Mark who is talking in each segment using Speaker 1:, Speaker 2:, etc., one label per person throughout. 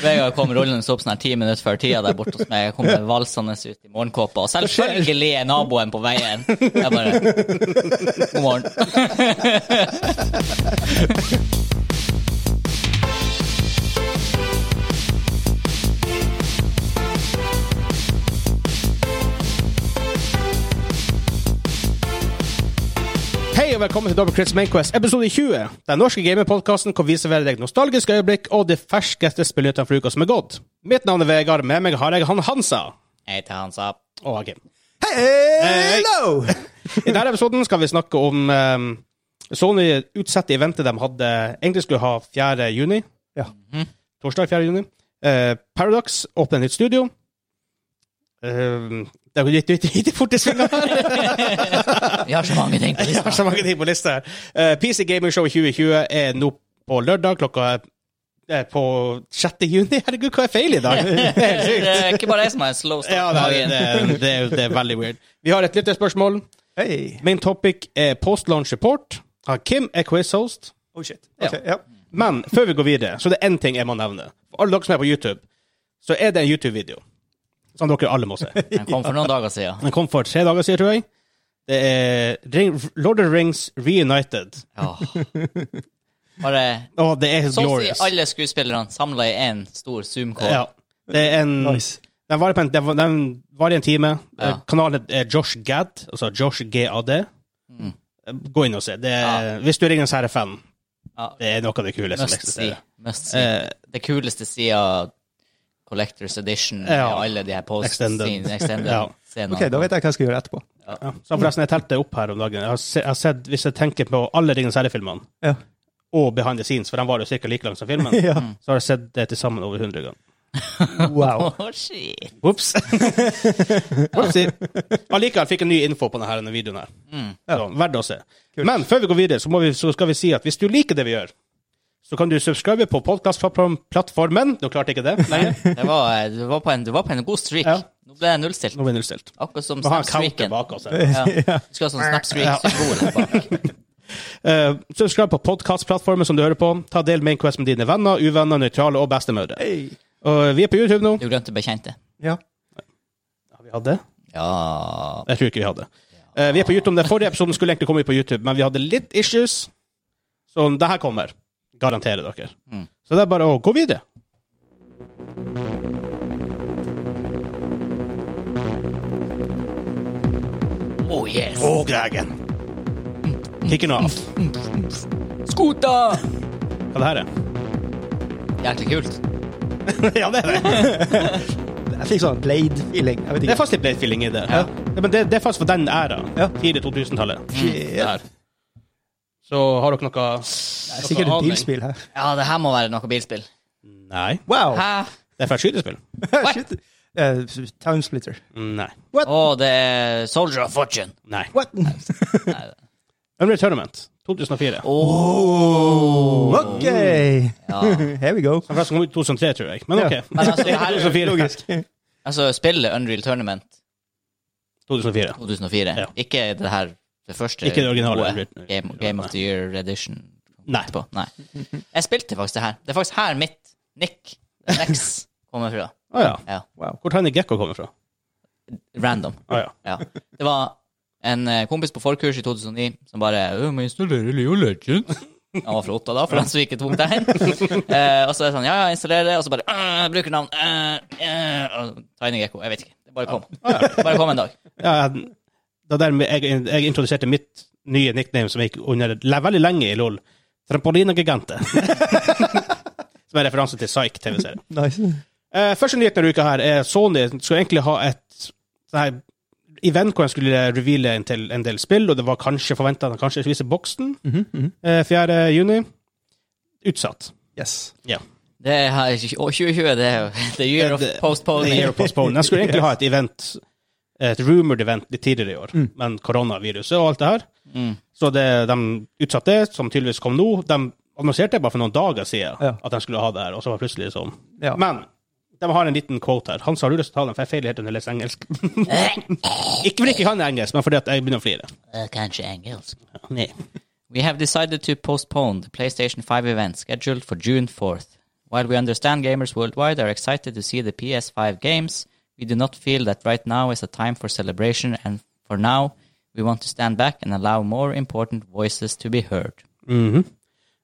Speaker 1: Vegard kom rullende opp sånn her ti minutter før tida der borte hos meg. Jeg kom valsende ut i morgenkåpa, og selvfølgelig er naboen på veien. Jeg bare God morgen.
Speaker 2: Hei og velkommen til Double Crits Mainquest, episode 20. Den norske gamerpodkasten hvor vi serverer deg nostalgiske øyeblikk og de ferskeste spillnyhetene for uka som er gått. Mitt navn er Vegard, med meg har jeg han Hansa.
Speaker 1: Jeg heter Hansa.
Speaker 2: Og Hakim. Hei.
Speaker 3: Hello!
Speaker 2: I denne episoden skal vi snakke om ehm, Sony utsetter eventet de hadde egentlig skulle ha 4. juni. Mhm.
Speaker 3: Ja.
Speaker 2: Torsdag 4. juni. Eh, Paradox åpner nytt studio. Eh, det går litt, litt, litt fort i svingene her.
Speaker 1: Vi har så mange ting på
Speaker 2: Jeg har så
Speaker 1: lista.
Speaker 2: mange ting på lista her. Eh, PC Gaming Show 2020 er nå på lørdag klokka eh, på 6. juni. Herregud, hva er feil i dag? Det er helt
Speaker 1: Det
Speaker 2: sykt.
Speaker 1: er ikke bare jeg som har en slow start
Speaker 2: Ja,
Speaker 1: på
Speaker 2: det,
Speaker 1: dagen.
Speaker 2: det, det, det er veldig weird. Vi har et lyttespørsmål.
Speaker 3: Hei.
Speaker 2: Main topic er post-launch report. Han Kim er quiz-host.
Speaker 3: Oh shit.
Speaker 2: Ja.
Speaker 3: Ok, ja.
Speaker 2: Men før vi går videre, så er det én ting jeg må nevne. For alle dere som er på YouTube, så er det en YouTube-video som dere alle må se.
Speaker 1: Den kom for noen dager siden.
Speaker 2: Den kom for tre dager siden, tror jeg. Det er Ring, Lord of the Rings Reunited.
Speaker 1: Ja. Bare
Speaker 2: Å, det
Speaker 1: så
Speaker 2: er
Speaker 1: å si
Speaker 2: glorious.
Speaker 1: alle skuespillerne samla i én stor Zoom-call.
Speaker 2: Ja. Det er en
Speaker 3: Nice.
Speaker 2: Den varer, på en, den var- den varer i en time.
Speaker 1: Ja.
Speaker 2: Eh, Kanalen er Josh Gad, altså Josh GAD.
Speaker 1: Mm.
Speaker 2: Eh, Gå inn og se. Det er, Hvis du er Ringenes herre-fan,
Speaker 1: Ja.
Speaker 2: det er noe av det kule som
Speaker 1: Must see.
Speaker 2: eksisterer.
Speaker 1: Must see.
Speaker 2: Eh,
Speaker 1: Det kuleste sida Collectors Edition med
Speaker 2: Ja.
Speaker 1: alle de her
Speaker 2: Extended.
Speaker 1: post-scenene. Extended.
Speaker 2: Ja.
Speaker 1: scenene.
Speaker 3: Ok, da vet jeg hva jeg skal gjøre etterpå.
Speaker 2: ja. Så forresten, jeg telte opp her om dagen. Jeg har, se, jeg har sett, Hvis jeg tenker på alle Ringenes herre-filmene,
Speaker 3: Ja.
Speaker 2: og Behind the Scenes, for de var jo ca. like lang som filmen,
Speaker 3: Ja.
Speaker 2: så har jeg sett det til sammen over 100 ganger.
Speaker 3: Wow.
Speaker 1: Å, shit.
Speaker 2: Ops! Allikevel fikk jeg ny info på denne, denne videoen her. Så, verdt å se. Men før vi går videre, så, må vi, så skal vi si at hvis du liker det vi gjør, så kan du subscribe på podkastplattformen. Du klarte ikke det? lenger.
Speaker 1: Det var, du, var på en, du var på en god streak.
Speaker 2: Ja.
Speaker 1: Nå ble jeg nullstilt.
Speaker 2: Nå blir det nullstilt.
Speaker 1: Akkurat som
Speaker 2: Vi har en counter
Speaker 1: Snapstreaken.
Speaker 2: bak oss. her.
Speaker 1: Ja. Du skal ha sånn Snapstreak-symbol her bak.
Speaker 2: Eh, subscribe på podkastplattformen som du hører på. Ta del Mainquest med dine venner, uvenner, nøytrale og bestemødre.
Speaker 3: Hei.
Speaker 2: Og vi er på YouTube nå.
Speaker 1: Du glemte bekjente.
Speaker 3: Ja.
Speaker 2: Har vi hatt det?
Speaker 1: Ja
Speaker 2: Jeg tror ikke vi hadde. Eh, vi er på YouTube. Den forrige episoden skulle egentlig komme ut på YouTube, men vi hadde litt issues. Så det her kommer. Garanterer dere.
Speaker 1: Mm.
Speaker 2: Så det er bare å gå videre.
Speaker 1: Oh yes!
Speaker 2: Og Gregen. Kick it off.
Speaker 1: Skuta!
Speaker 2: Hva det her er?
Speaker 1: Jæklig kult.
Speaker 2: ja, det er det.
Speaker 3: Jeg fikk sånn Blade-feeling. Jeg vet
Speaker 2: Det er
Speaker 3: ikke.
Speaker 2: fast litt Blade Feeling i det.
Speaker 3: Ja.
Speaker 2: Ja, men det, det er fast for den æra.
Speaker 3: Ja.
Speaker 2: Tidlig
Speaker 1: Mm.
Speaker 2: 2000-tallet.
Speaker 3: Ja.
Speaker 2: Der. Så har dere noe
Speaker 3: Det er sikkert et bilspill her.
Speaker 1: Ja, det her må være noe bilspill.
Speaker 2: Nei.
Speaker 3: Wow.
Speaker 1: Hæ?
Speaker 2: Det er fra et skytespill?
Speaker 3: Shit. Eh, Timesplitter.
Speaker 2: Nei.
Speaker 1: Å, det er Soldier of Fortune.
Speaker 2: Nei.
Speaker 3: What?
Speaker 2: Unreal Tournament 2004.
Speaker 1: Å,
Speaker 3: Ok.
Speaker 1: ja.
Speaker 3: Here we go.
Speaker 2: Den første kom ut i 2003, tror jeg. Men OK.
Speaker 3: Ja.
Speaker 1: Men altså, det her er
Speaker 2: 2004.
Speaker 3: Logisk.
Speaker 1: Altså, spillet Unreal Tournament
Speaker 2: 2004.
Speaker 1: 2004.
Speaker 2: Ja.
Speaker 1: Ikke det her det første
Speaker 2: Ikke det originale.
Speaker 1: gode Game, Game of the Year Edition.
Speaker 2: Nei.
Speaker 1: På. Nei. Jeg spilte faktisk det her. Det er faktisk her mitt Nick Nex kommer fra.
Speaker 2: Å ja.
Speaker 1: Ja.
Speaker 3: Wow.
Speaker 2: Hvor Tiny Gekko kommer fra?
Speaker 1: Random.
Speaker 2: Å ja.
Speaker 1: Ja. Det var en eh, kompis på forkurs i 2009 som bare «Øh, må installere Leo Legends. Han var fra Otta da, for han som ikke tok det hen. Eh, og så er det sånn, ja, ja, installere det, og så bare «Øh, brukernavn øh, øh, og Tiny Gecko. Jeg vet ikke. Det bare kom. Bare kom en dag.
Speaker 2: ja jeg- det der med, jeg, jeg introduserte mitt nye nickname som gikk under le- veldig lenge i LOL. Trampolinegigante. som er referanse til Psyche-TV-serien.
Speaker 3: Nice.
Speaker 2: Eh, første nyheten denne uka her er Sony skulle egentlig ha et sånn her event hvor de skulle reveale en, til- en del spill, og det var kanskje forventa at de kanskje skulle vise boksen eh, 4. juni. Utsatt.
Speaker 3: Yes.
Speaker 1: Det er her- 2020, det er jo the year of
Speaker 2: Det- The year
Speaker 1: postponing.
Speaker 2: of postpone. De skulle egentlig ha et event, et rumored event litt tidligere i år,
Speaker 3: Mm.
Speaker 2: men koronaviruset og alt det her.
Speaker 1: Mm.
Speaker 2: Så det, de utsatte det, som tydeligvis kom nå. De annonserte det bare for noen dager siden
Speaker 3: Ja.
Speaker 2: at de skulle ha det her, og så var det plutselig sånn.
Speaker 3: Ja.
Speaker 2: Men de har en liten quote her. Hans, har du lyst til å ta den, for jeg feiler helt under å lese engelsk. ikke fordi ikke han er engelsk, men fordi at jeg begynner å flire.
Speaker 1: Eh, Kanskje engelsk.
Speaker 2: Nei.
Speaker 1: We have decided to postpone the PlayStation 5 event scheduled for June 4th. While we understand gamers worldwide are excited to see the PS5 games, we do not feel that right now is a time for celebration, and for now, we want to stand back and allow more important voices to be heard.
Speaker 2: Mhm.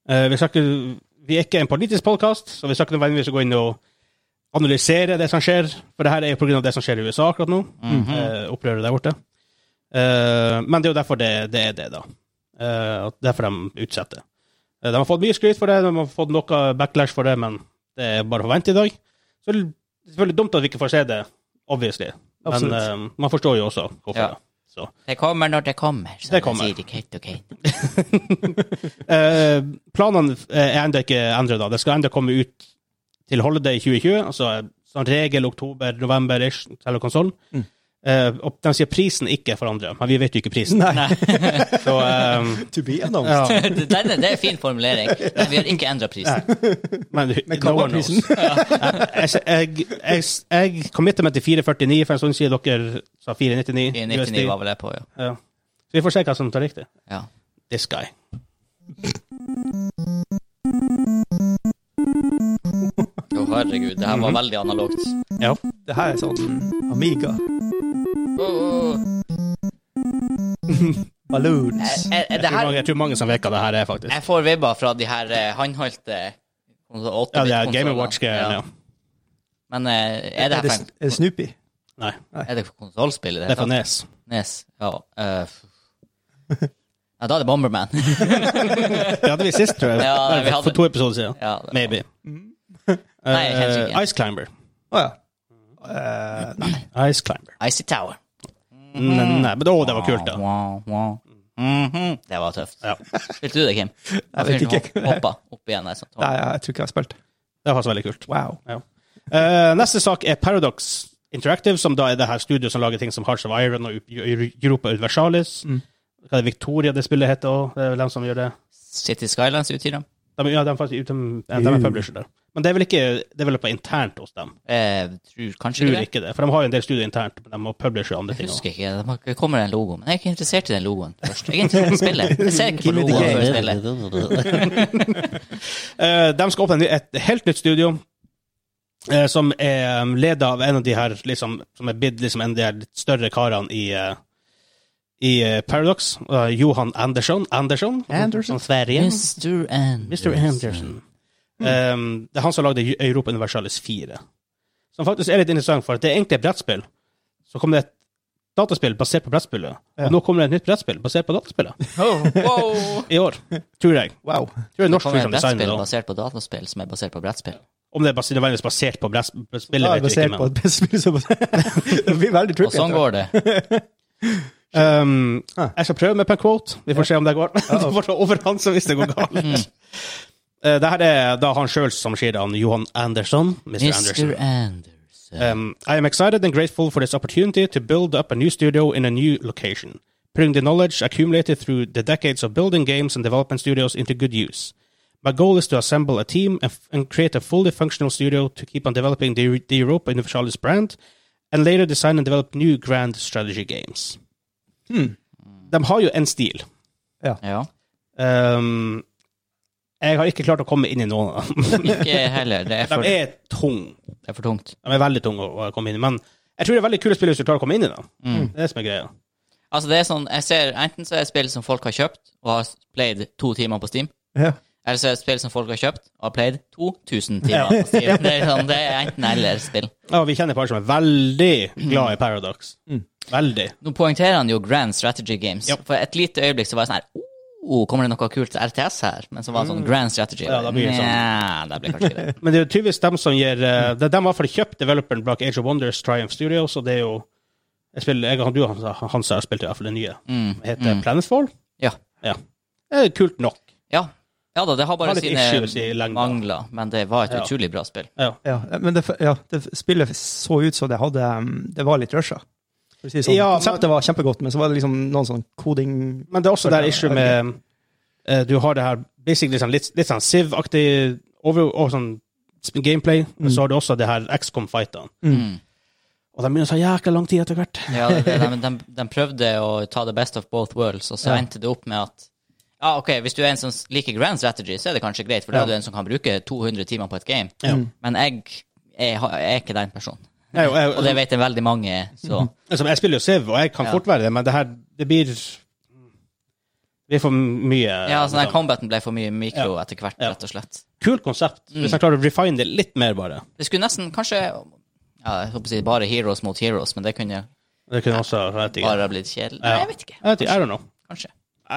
Speaker 2: Eh, vi, snakker, vi er ikke en politisk podkast, så vi skal ikke nødvendigvis gå inn og analysere det som skjer, for det her er jo pga. det som skjer i USA akkurat nå, eh, opprøret der borte. Eh, men det er jo derfor det, det er det, da. Eh, og derfor de utsetter. Eh, de har fått mye skryt for det, de har fått noe backlash for det, men det er bare å forvente i dag. Så det er selvfølgelig dumt at vi ikke får se det, obviously, men
Speaker 3: Absolutt.
Speaker 2: eh, man forstår jo også hvorfor.
Speaker 1: Ja.
Speaker 2: da. Så.
Speaker 1: Det kommer når det kommer, som
Speaker 2: Det
Speaker 1: det
Speaker 2: kommer.
Speaker 1: sier i Kate og Kate.
Speaker 2: Eh, planene eh, er ennå ikke endret. da. Det skal ennå komme ut til holiday i 2020, altså eh, som regel oktober-november-ish, selve konsollen.
Speaker 3: Mm.
Speaker 2: Eh, og de sier prisen ikke er forandret, men vi vet jo ikke prisen.
Speaker 3: Nei.
Speaker 2: Så, eh,
Speaker 3: To be announced.
Speaker 2: ja.
Speaker 1: Denne, det er en fin formulering, men vi har ikke endra prisen.
Speaker 2: Men,
Speaker 3: Men hva
Speaker 2: no
Speaker 3: var
Speaker 2: one knows.
Speaker 3: prisen?
Speaker 2: jeg, jeg, jeg, jeg committer meg til 449 for en stund siden. Dere sa 499.
Speaker 1: I 99
Speaker 2: USD.
Speaker 1: var vel det er på, ja.
Speaker 2: Ja. Så vi får se hva som tar riktig.
Speaker 1: ja.
Speaker 2: This guy.
Speaker 1: Å, herregud, det her var veldig analogt.
Speaker 3: Det her er sånn Amiga. Balloons.
Speaker 1: Er, er det
Speaker 2: Jeg tror,
Speaker 1: her
Speaker 2: mange, jeg tror mange som vet hva det her er, faktisk.
Speaker 1: Jeg får vibber fra de her eh, håndholdte
Speaker 2: Ja, det er
Speaker 1: 8-bit-konsolene.
Speaker 2: Game Watch-greiene. Ja.
Speaker 1: Men eh, er det her for,
Speaker 3: er det Snoopy?
Speaker 2: Nei,
Speaker 1: en- er det for konsollspill i det
Speaker 2: det er
Speaker 1: hele
Speaker 2: E fra
Speaker 1: tatt?
Speaker 2: Nes.
Speaker 1: Nes. Ja, eh, f- ja, da er det Bomberman.
Speaker 2: Det hadde vi sist, tror jeg.
Speaker 1: Ja,
Speaker 2: Nei,
Speaker 1: vi hadde
Speaker 2: For to episoder siden.
Speaker 1: ja, det-
Speaker 2: Maybe.
Speaker 1: Nei, kanskje
Speaker 2: Eh,
Speaker 1: ikke.
Speaker 2: Ice Climber.
Speaker 3: Å ja. Eh, nei.
Speaker 2: Ice Climber. Mm,
Speaker 1: Icy Tower. Mm.
Speaker 2: Nei, nei, men å, det var kult, da.
Speaker 1: Wow, wow. Mhm, Det var tøft.
Speaker 2: Ja.
Speaker 1: Spilte du det, Kim?
Speaker 3: Jeg vet ikke.
Speaker 1: Hoppa opp igjen. Der, sånn.
Speaker 3: Nei, jeg tror ikke jeg har spilt.
Speaker 2: Det var faktisk veldig kult.
Speaker 3: Wow.
Speaker 2: Ja. Eh, neste sak er Paradox Interactive, som da er det her studioet som lager ting som Hearts of Iron og Eu- Europa Universalis. Hva er det Victoria det spillet heter òg? Det er vel dem som gjør det?
Speaker 1: City Skylines utgir dem.
Speaker 2: De, ja, de, er faktisk, de, de er
Speaker 3: Mm.
Speaker 2: publisher der. Men det er vel ikke developa internt hos dem?
Speaker 1: Eh, tror kanskje
Speaker 2: Tror
Speaker 1: ikke det.
Speaker 2: ikke det, for de har jo en del studier internt, men de må publishe andre
Speaker 1: Jeg
Speaker 2: ting.
Speaker 1: husker ikke. Det var- Det kommer en logo. Men jeg er ikke interessert i den logoen først. Jeg er interessert i spillet. Jeg ser ikke på
Speaker 3: Give me the
Speaker 1: logoen før
Speaker 3: game.
Speaker 1: spillet.
Speaker 2: Eh, de skal åpne en ny- et helt nytt studio, eh, som er um, leda av en av de her liksom, som er blitt liksom, en av de her litt større karene i, eh, i eh, Paradox. Eh, Johan Andersson. Andersson?
Speaker 3: Andersson.
Speaker 2: Fra Sverige.
Speaker 1: Mr. N.
Speaker 2: Mr. Andersson. Eh, det er han som lagde Eu- Europa Universalis 4. Som faktisk er litt interessant, for at det er egentlig et brettspill. Så kom det et dataspill basert på brettspillet.
Speaker 3: Ja.
Speaker 2: Og nå kommer det et nytt brettspill basert på dataspillet. I år, tror jeg.
Speaker 3: Wow.
Speaker 2: Tror jeg norsk
Speaker 1: Kommer et
Speaker 2: film designer
Speaker 1: brettspill
Speaker 2: det.
Speaker 1: basert på dataspill som er basert på brettspill?
Speaker 2: Om det er bas- nødvendigvis basert på brettspillet, vet
Speaker 3: Da
Speaker 2: vi
Speaker 3: er
Speaker 2: ikke.
Speaker 3: basert
Speaker 2: men-
Speaker 3: på et spill som Det blir veldig
Speaker 1: Og
Speaker 3: trippy.
Speaker 1: sånn går det.
Speaker 2: Um,
Speaker 3: Ah.
Speaker 2: jeg skal prøve med på en quote. Vi får se om det går. det var over han som hvis det går galt. Eh, det her er da han sjøl som sier det, han Johan Andersson. Mr. Andersson.
Speaker 1: Mr. Anderson.
Speaker 2: Um, I am excited and grateful for this opportunity to build up a new studio in a new location, putting the knowledge accumulated through the decades of building games and development studios into good use. My goal is to assemble a team and, and create a fully functional studio to keep on developing the, the Europa Universalis brand, and later design and develop new grand strategy games. De har jo en stil.
Speaker 1: Ja.
Speaker 2: Um, jeg har ikke klart å komme inn i noen av dem.
Speaker 1: Ikke heller. Det er
Speaker 2: De
Speaker 1: for,
Speaker 2: er tung.
Speaker 1: det er for tungt.
Speaker 2: De er veldig tunge å å komme inn i, men jeg tror det er veldig kule spill hvis du klarer å komme inn i dem. Det er det som er greia.
Speaker 1: Altså, det er sånn Jeg ser enten så er det spill som folk har kjøpt og har played to timer på Steam,
Speaker 3: Ja.
Speaker 1: eller så er det spill som folk har kjøpt og har played 2000 timer på Steam. Det er, sånn, det er enten eller spill.
Speaker 2: Ja, vi kjenner et par som er veldig glad i Paradox.
Speaker 1: Mm.
Speaker 2: Veldig.
Speaker 1: Nå poengterer han jo Grand Strategy Games.
Speaker 2: Ja.
Speaker 1: For et lite øyeblikk så var jeg sånn her oh, Kommer det noe kult RTS her? Men så var det sånn Grand Strategy.
Speaker 2: Mm. Ja, da blir det sånn.
Speaker 1: Nja, da blir det kanskje ikke det.
Speaker 2: Men det er jo tydeligvis dem som gir eh, Det er dem i hvert fall kjøpt developeren bak Age of Wonders Triumph Studios, og det er jo jeg spiller, jeg, og du Hansa, Hansa har spilt i hvert fall det nye.
Speaker 1: Mm.
Speaker 2: Det heter Planetfall.
Speaker 1: Ja.
Speaker 2: Ja. Det er kult nok.
Speaker 1: ja. Ja da, det har bare
Speaker 2: Har litt issues i
Speaker 1: sine
Speaker 2: lengden.
Speaker 1: mangler, men det var et
Speaker 2: Ja.
Speaker 1: utrolig bra spill.
Speaker 2: Ja.
Speaker 3: Ja, men det, ja, det spillet så ut som det hadde um, Det var litt rusha. For å si det sånn.
Speaker 2: Ja, men-
Speaker 3: Konseptet var kjempegodt, men så var det liksom noen sånn koding
Speaker 2: Men det er også
Speaker 3: For
Speaker 2: der
Speaker 3: det-
Speaker 2: issue med eh, Du har det her basically sånn litt, litt sånn Siv-aktig over- og sånn sp- gameplay, men så har du også det her XCOM-fightene.
Speaker 1: Mm.
Speaker 2: Og de begynner å ta jækla lang tid etter hvert.
Speaker 1: Ja, det, det, de, de, de prøvde å ta the best of both worlds, og så
Speaker 3: Ja.
Speaker 1: endte det opp med at Ja, ok, Hvis du er en som liker grand strategy, så er det kanskje greit, for da er du en som kan bruke 200 timer på et game. Men jeg, jeg, har- jeg er ikke den personen.
Speaker 2: Jeg, jeg,
Speaker 1: Og det vet jeg veldig mange, så
Speaker 2: altså, jeg spiller jo Siv, og jeg kan
Speaker 1: Ja.
Speaker 2: fort være det, men det her det blir Det blir for mye.
Speaker 3: Eh,
Speaker 1: Ja, altså, så den
Speaker 2: liksom.
Speaker 1: combaten ble for mye mikro etter hvert,
Speaker 2: Ja.
Speaker 1: rett og slett.
Speaker 2: Kult konsept.
Speaker 1: Mm.
Speaker 2: Hvis jeg klarer å refine det litt mer, bare.
Speaker 1: Det skulle nesten kanskje ja, Jeg håper å si bare heroes mot heroes, men det kunne
Speaker 2: Det kunne også jeg vet ikke.
Speaker 1: bare blitt kjedelig. Nei, jeg vet ikke.
Speaker 2: Jeg vet ikke. I don't know.
Speaker 1: Kanskje.
Speaker 2: I